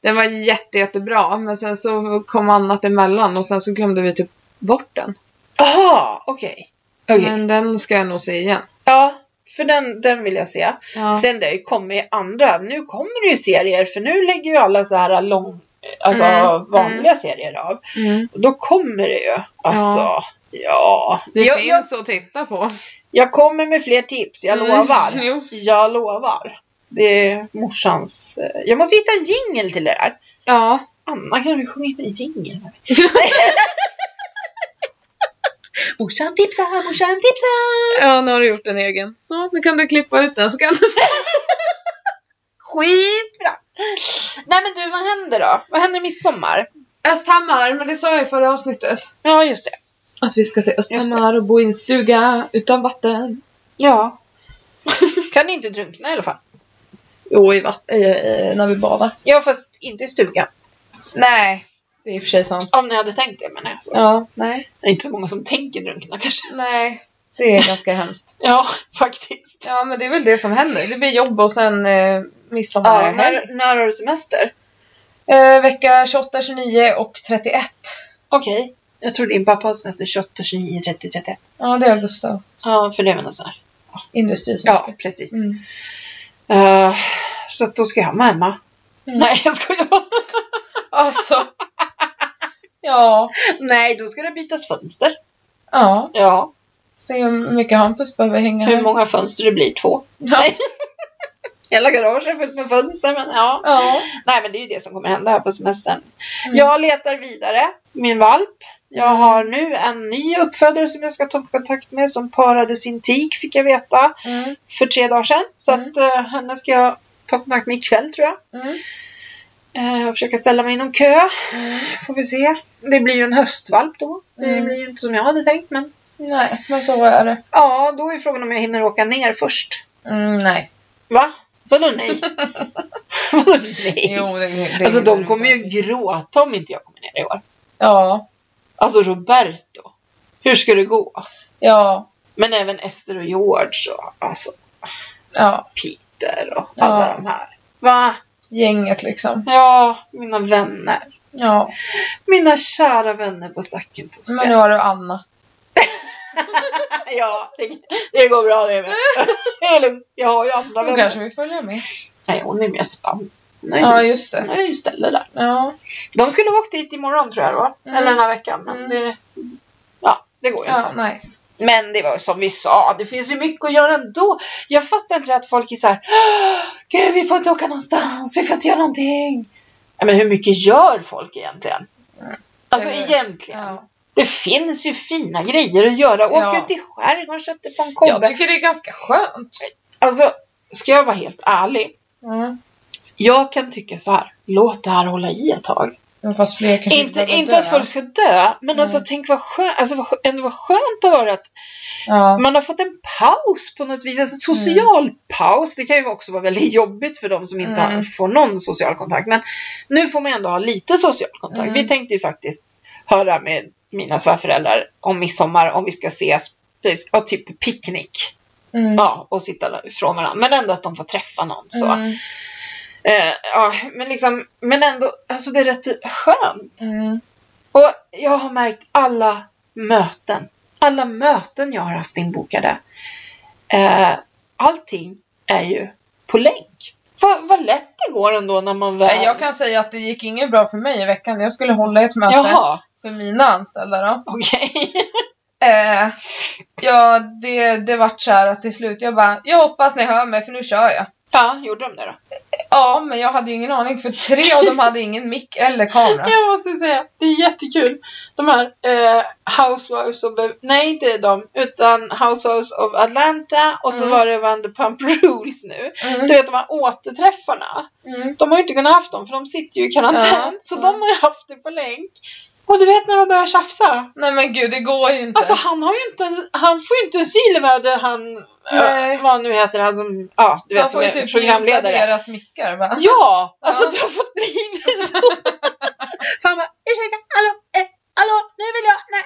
S2: Den var jätte, jättebra, men sen så kom annat emellan och sen så glömde vi typ bort den.
S1: Jaha, Ah, okej. Okej.
S2: Men den ska jag nog se igen.
S1: Ja, för den, den vill jag se.
S2: Ja.
S1: Sen det har ju kommit andra, nu kommer det ju serier för nu lägger ju alla så här lång, alltså
S2: Mm,
S1: vanliga serier av.
S2: Mm.
S1: Och då kommer det ju, alltså. Ja.
S2: Det
S1: jag, jag,
S2: finns att titta på.
S1: jag kommer med fler tips, jag
S2: Mm,
S1: lovar.
S2: jo.
S1: Jag lovar. Det är morsans... eh, Jag måste hitta en jingel till det där.
S2: Ja.
S1: Anna kan du sjunga in en jingel? morsan tipsar, morsan tipsar!
S2: ja, nu har du gjort en egen. Så, nu kan du klippa ut den. Så kan du...
S1: Skitbra! Nej men du, vad händer då? Vad händer midsommar?
S2: Östhammar, men det sa jag i förra avsnittet.
S1: Ja, just det.
S2: Att vi ska till
S1: Östhammar
S2: Östhammar och bo i en stuga utan vatten.
S1: Ja. kan inte drunkna i alla fall.
S2: Jo, i vatten, när vi badar.
S1: Ja, fast inte i stugan.
S2: Nej, det är i och för sig sant.
S1: Om ni hade tänkt det menar jag. Så.
S2: Ja, nej.
S1: Det är inte så många som tänker drunkna kanske.
S2: Nej, det är ganska hemskt.
S1: Ja, faktiskt.
S2: Ja, men det är väl det som händer. Det blir jobb och sen eh,
S1: Ja,
S2: midsommarhelg.
S1: när, när har du semester?
S2: Eh, vecka 28, 29 och 31.
S1: Okej. Jag tror din pappa har semester 28, 29, 30, 31.
S2: Ja, det är Gustav.
S1: Ja, för det är väl något sånt här.
S2: Industrisemester.
S1: precis.
S2: Mm.
S1: Eh, så att då ska jag vara hemma.
S2: Mm.
S1: Nej, jag skojar bara.
S2: Alltså. Ja.
S1: Nej, då ska det bytas fönster.
S2: Ja.
S1: Ja,
S2: Se hur mycket Hampus behöver hänga
S1: hur
S2: här.
S1: många fönster det blir? Två.
S2: Ja.
S1: Hela garaget är fullt med fönster, men ja.
S2: ja.
S1: Nej, men det är ju det som kommer hända här på semestern.
S2: Mm.
S1: Jag letar vidare, min valp. Jag
S2: Mm.
S1: har nu en ny uppfödare som jag ska ta kontakt med som parade sin tik, fick jag veta,
S2: Mm.
S1: för tre dagar sedan. Så
S2: Mm.
S1: att eh, henne ska jag ta kontakt med ikväll, tror jag.
S2: Mm.
S1: Eh, och försöka ställa mig i någon kö.
S2: Mm.
S1: Får vi se. Det blir ju en höstvalp då. Det
S2: Mm.
S1: blir ju inte som jag hade tänkt, men
S2: Nej, men så är det.
S1: ja, då är frågan om jag hinner åka ner först.
S2: Mm, nej.
S1: Va? Vadå nej? Vadå nej?
S2: Jo, det, det,
S1: alltså,
S2: det-
S1: de kommer ju gråta om inte jag kommer ner i år.
S2: Ja.
S1: Alltså Roberto. Hur ska det gå?
S2: Ja.
S1: Men även Ester och George och alltså
S2: Ja.
S1: Peter och
S2: Ja.
S1: alla de här. Va?
S2: Gänget liksom.
S1: Ja, mina vänner.
S2: Ja.
S1: Mina kära vänner på Sackentos.
S2: Men nu har du Anna.
S1: Ja, det, det går bra det med. Det är lugnt. Jag har ju andra
S2: Då
S1: vänner.
S2: kanske vi följer med.
S1: Nej, hon är mer spann. Hon har ju-
S2: Ja, just det.
S1: Hon är ju ställe där.
S2: Ja.
S1: De skulle ha åkt dit imorgon tror jag då.
S2: Mm.
S1: Eller den här veckan. Men
S2: Mm.
S1: det, ja, det går ju inte.
S2: Ja, nej.
S1: Men det var ju som vi sa, det finns ju mycket att göra ändå. Jag fattar inte att folk är så här, "Åh, gud vi får inte åka någonstans, vi får inte göra någonting. Ja, men hur mycket gör folk egentligen? Alltså
S2: Det-
S1: egentligen.
S2: Mm. Ja.
S1: Det finns ju fina grejer att göra. Åk
S2: Ja.
S1: ut i skärgården, köp dig på en
S2: Jag
S1: kobbe.
S2: tycker det är ganska skönt.
S1: Alltså, ska jag vara helt ärlig.
S2: Mm.
S1: Jag kan tycka så här, låt det här hålla i ett tag.
S2: Men fast fler kanske
S1: Inte,
S2: behöver
S1: inte
S2: dö.
S1: att folk ska dö, men
S2: Mm.
S1: alltså tänk vad skönt, alltså, vad, skö- ändå vad skönt att höra att
S2: Ja.
S1: man har fått en paus på något vis, alltså en social paus. Det kan ju också vara väldigt jobbigt för de som inte
S2: Mm.
S1: har- får någon social kontakt. Men nu får man ändå ha lite social kontakt.
S2: Mm.
S1: Vi tänkte ju faktiskt höra med mina svärföräldrar om midsommar om vi ska ses, ja, typ picknick.
S2: Mm.
S1: Ja, och sitta ifrån varandra. Men ändå att de får träffa någon. Så.
S2: Mm.
S1: Eh, ja, men, liksom, men ändå, alltså det är rätt skönt.
S2: Mm.
S1: Och jag har märkt alla möten, alla möten jag har haft inbokade. Eh, allting är ju på länk. Vad, vad lätt det går ändå när man väl...
S2: Nej, Eh, Jag kan säga att det gick inget bra för mig i veckan. Jag skulle hålla ett möte
S1: Jaha,
S2: för mina anställda då.
S1: okej.
S2: Eh, ja, det, det vart så här att till slut, jag bara, jag hoppas ni hör mig för nu kör jag.
S1: Ja, gjorde de det då?
S2: Ja, men jag hade ju ingen aning för tre av dem hade ingen mick eller kamera.
S1: Jag måste säga, det är jättekul. De här eh, Housewives of... Nej, inte de, utan Housewives of Atlanta och så
S2: Mm.
S1: var det Vanderpump Rules nu. Du
S2: Mm,
S1: vet de här återträffarna.
S2: mm,
S1: De har ju inte kunnat haft dem för de sitter ju i karantän.
S2: Ja,
S1: så
S2: ja.
S1: de har ju haft det på länk. Och du vet när de börjar tjafsa.
S2: nej men gud, det går ju inte.
S1: Alltså han har ju inte ens- han får ju inte asyl i världen han,
S2: Nej.
S1: äh, vad han nu heter, han som, ja du
S2: Man
S1: vet,
S2: får
S1: som
S2: ju
S1: är
S2: typ mjuta
S1: programledare.
S2: deras mickar va?
S1: Ja, alltså
S2: Ja.
S1: det har fått bli så. så han bara, ursäkta, hallå, eh, hallå, nu vill jag, nej.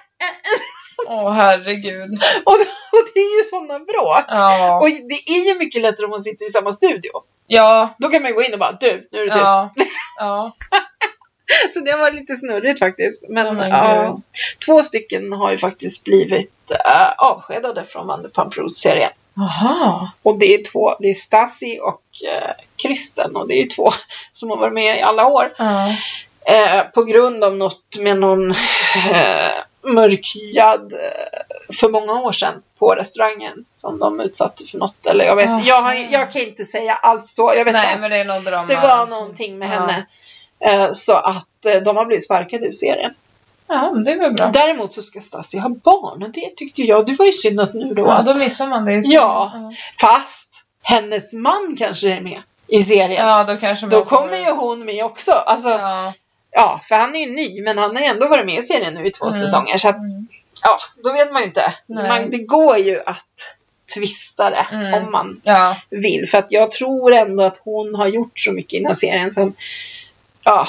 S2: Åh herregud.
S1: Och, och det är ju sådana bråk.
S2: Ja,
S1: Och det är ju mycket lättare om man sitter i samma studio.
S2: ja,
S1: Då kan man ju gå in och bara, du, nu är det tyst.
S2: ja. ja.
S1: Så det var lite snurrigt faktiskt. Men,
S2: Oh my
S1: ja.
S2: God.
S1: två stycken har ju faktiskt blivit eh, avskedade från Vanderpump Rules-serien.
S2: Jaha.
S1: Och det är två, det är Stasi och eh, Kristen och det är ju två som har varit med i alla år.
S2: Ja.
S1: Eh, på grund av något med någon eh, mörkhyad eh, för många år sedan på restaurangen som de utsatte för något. Eller jag, vet,
S2: Ah.
S1: jag, har- jag kan inte säga alls så. Jag vet
S2: Nej,
S1: att
S2: men det är någon drama.
S1: det var någonting med
S2: Ja.
S1: henne. Eh, så att eh, de har blivit sparkade ur serien.
S2: Ja, men det är väl bra.
S1: Däremot så ska Stasi ha barn och det tyckte jag, det var ju synd att nu då
S2: Ja,
S1: att
S2: då missar man det. ju.
S1: Ja. Fast hennes man kanske är med i serien.
S2: Ja, då kanske man
S1: Då
S2: får-
S1: kommer ju hon med också. Alltså, ja.
S2: Ja.
S1: för han är ju ny, men han har ändå varit med i serien nu i två
S2: Mm.
S1: säsonger. Så att,
S2: Mm.
S1: ja, då vet man ju inte.
S2: Nej.
S1: Man, det går ju att twista det
S2: Mm.
S1: om man
S2: Ja.
S1: vill. För att jag tror ändå att hon har gjort så mycket i den här serien som, ja,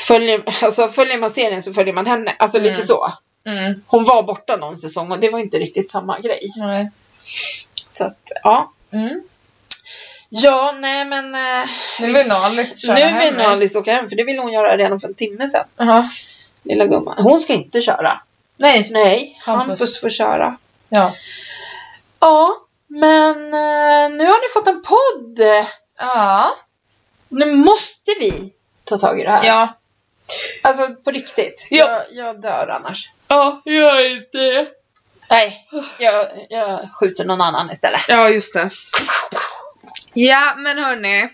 S1: följer, alltså, följer man serien så följer man henne. Alltså
S2: Mm.
S1: lite så.
S2: Mm.
S1: Hon var borta någon säsong och det var inte riktigt samma grej.
S2: Nej.
S1: Så att, ja.
S2: Mm.
S1: Ja, nej men eh,
S2: Nu vill nog Alice köra
S1: nu
S2: hem
S1: vill nog
S2: mig.
S1: Alice åka hem för det ville hon göra redan för en timme sedan.
S2: Jaha.
S1: Lilla gumman. Hon ska inte köra.
S2: Nej.
S1: Nej,
S2: Hampus.
S1: Hampus, får köra.
S2: Ja.
S1: Ja, men eh, nu har ni fått en podd.
S2: Ja.
S1: Nu måste vi ta tag i det här.
S2: Ja.
S1: Alltså på riktigt.
S2: Ja.
S1: Jag, jag dör annars.
S2: Ja, jag är inte...
S1: Nej, jag, jag skjuter någon annan istället.
S2: Ja, just det. Ja, men hörni.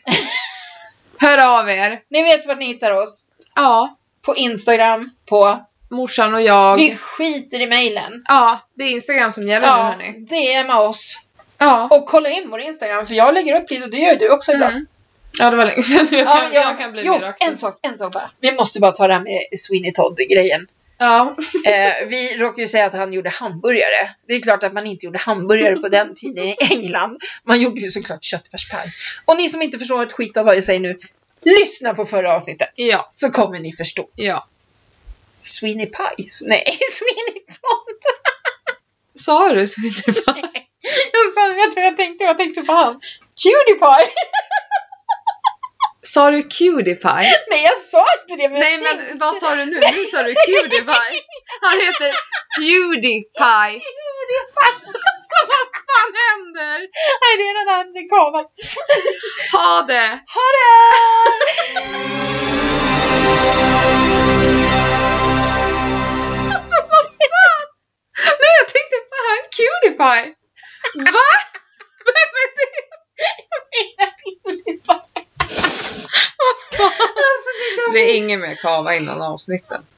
S2: Hör av er.
S1: Ni vet var ni hittar oss.
S2: Ja,
S1: På Instagram, på...
S2: morsan och jag.
S1: Vi skiter i mejlen.
S2: Ja, det är Instagram som gäller nu
S1: Ja,
S2: hörni.
S1: DMa oss.
S2: Ja.
S1: Och kolla in vår Instagram, för jag lägger upp lite och det gör ju du också ibland.
S2: Mm. Ja, det var länge sedan. Jag kan,
S1: Ja,
S2: jag, kan bli
S1: jo,
S2: mer aktiv.
S1: en sak, en sak bara. Vi måste bara ta det här med Sweeney Todd-grejen.
S2: Ja.
S1: Eh, vi råkar ju säga att han gjorde hamburgare. Det är klart att man inte gjorde hamburgare på den tiden i England. Man gjorde ju såklart köttfärspaj. Och ni som inte förstår ett skit av vad jag säger nu, lyssna på förra avsnittet
S2: Ja.
S1: så kommer ni förstå.
S2: Ja.
S1: Sweeney Pie? Nej, Sweeney Todd!
S2: Sa du så inte bara...
S1: Jag sa- vet du vad jag tänkte? Jag tänkte på han. Cutie Pie!
S2: Sa du Cudiepie?
S1: Nej, jag sa inte det, men,
S2: Nej
S1: jag tänkte
S2: men vad sa du nu? Nu sa du Cudiepie. Han heter Pewdiepie.
S1: Cutie Pie!
S2: Vad fan händer?
S1: Nej, det är den här amerikanen.
S2: Ha det!
S1: Ha det!
S2: Alltså vad fan? Nej jag tänkte fan Cudiepie. Va? Vem är det?
S1: Alltså, det är Alltså,
S2: Det är ingen mer kava innan avsnitten.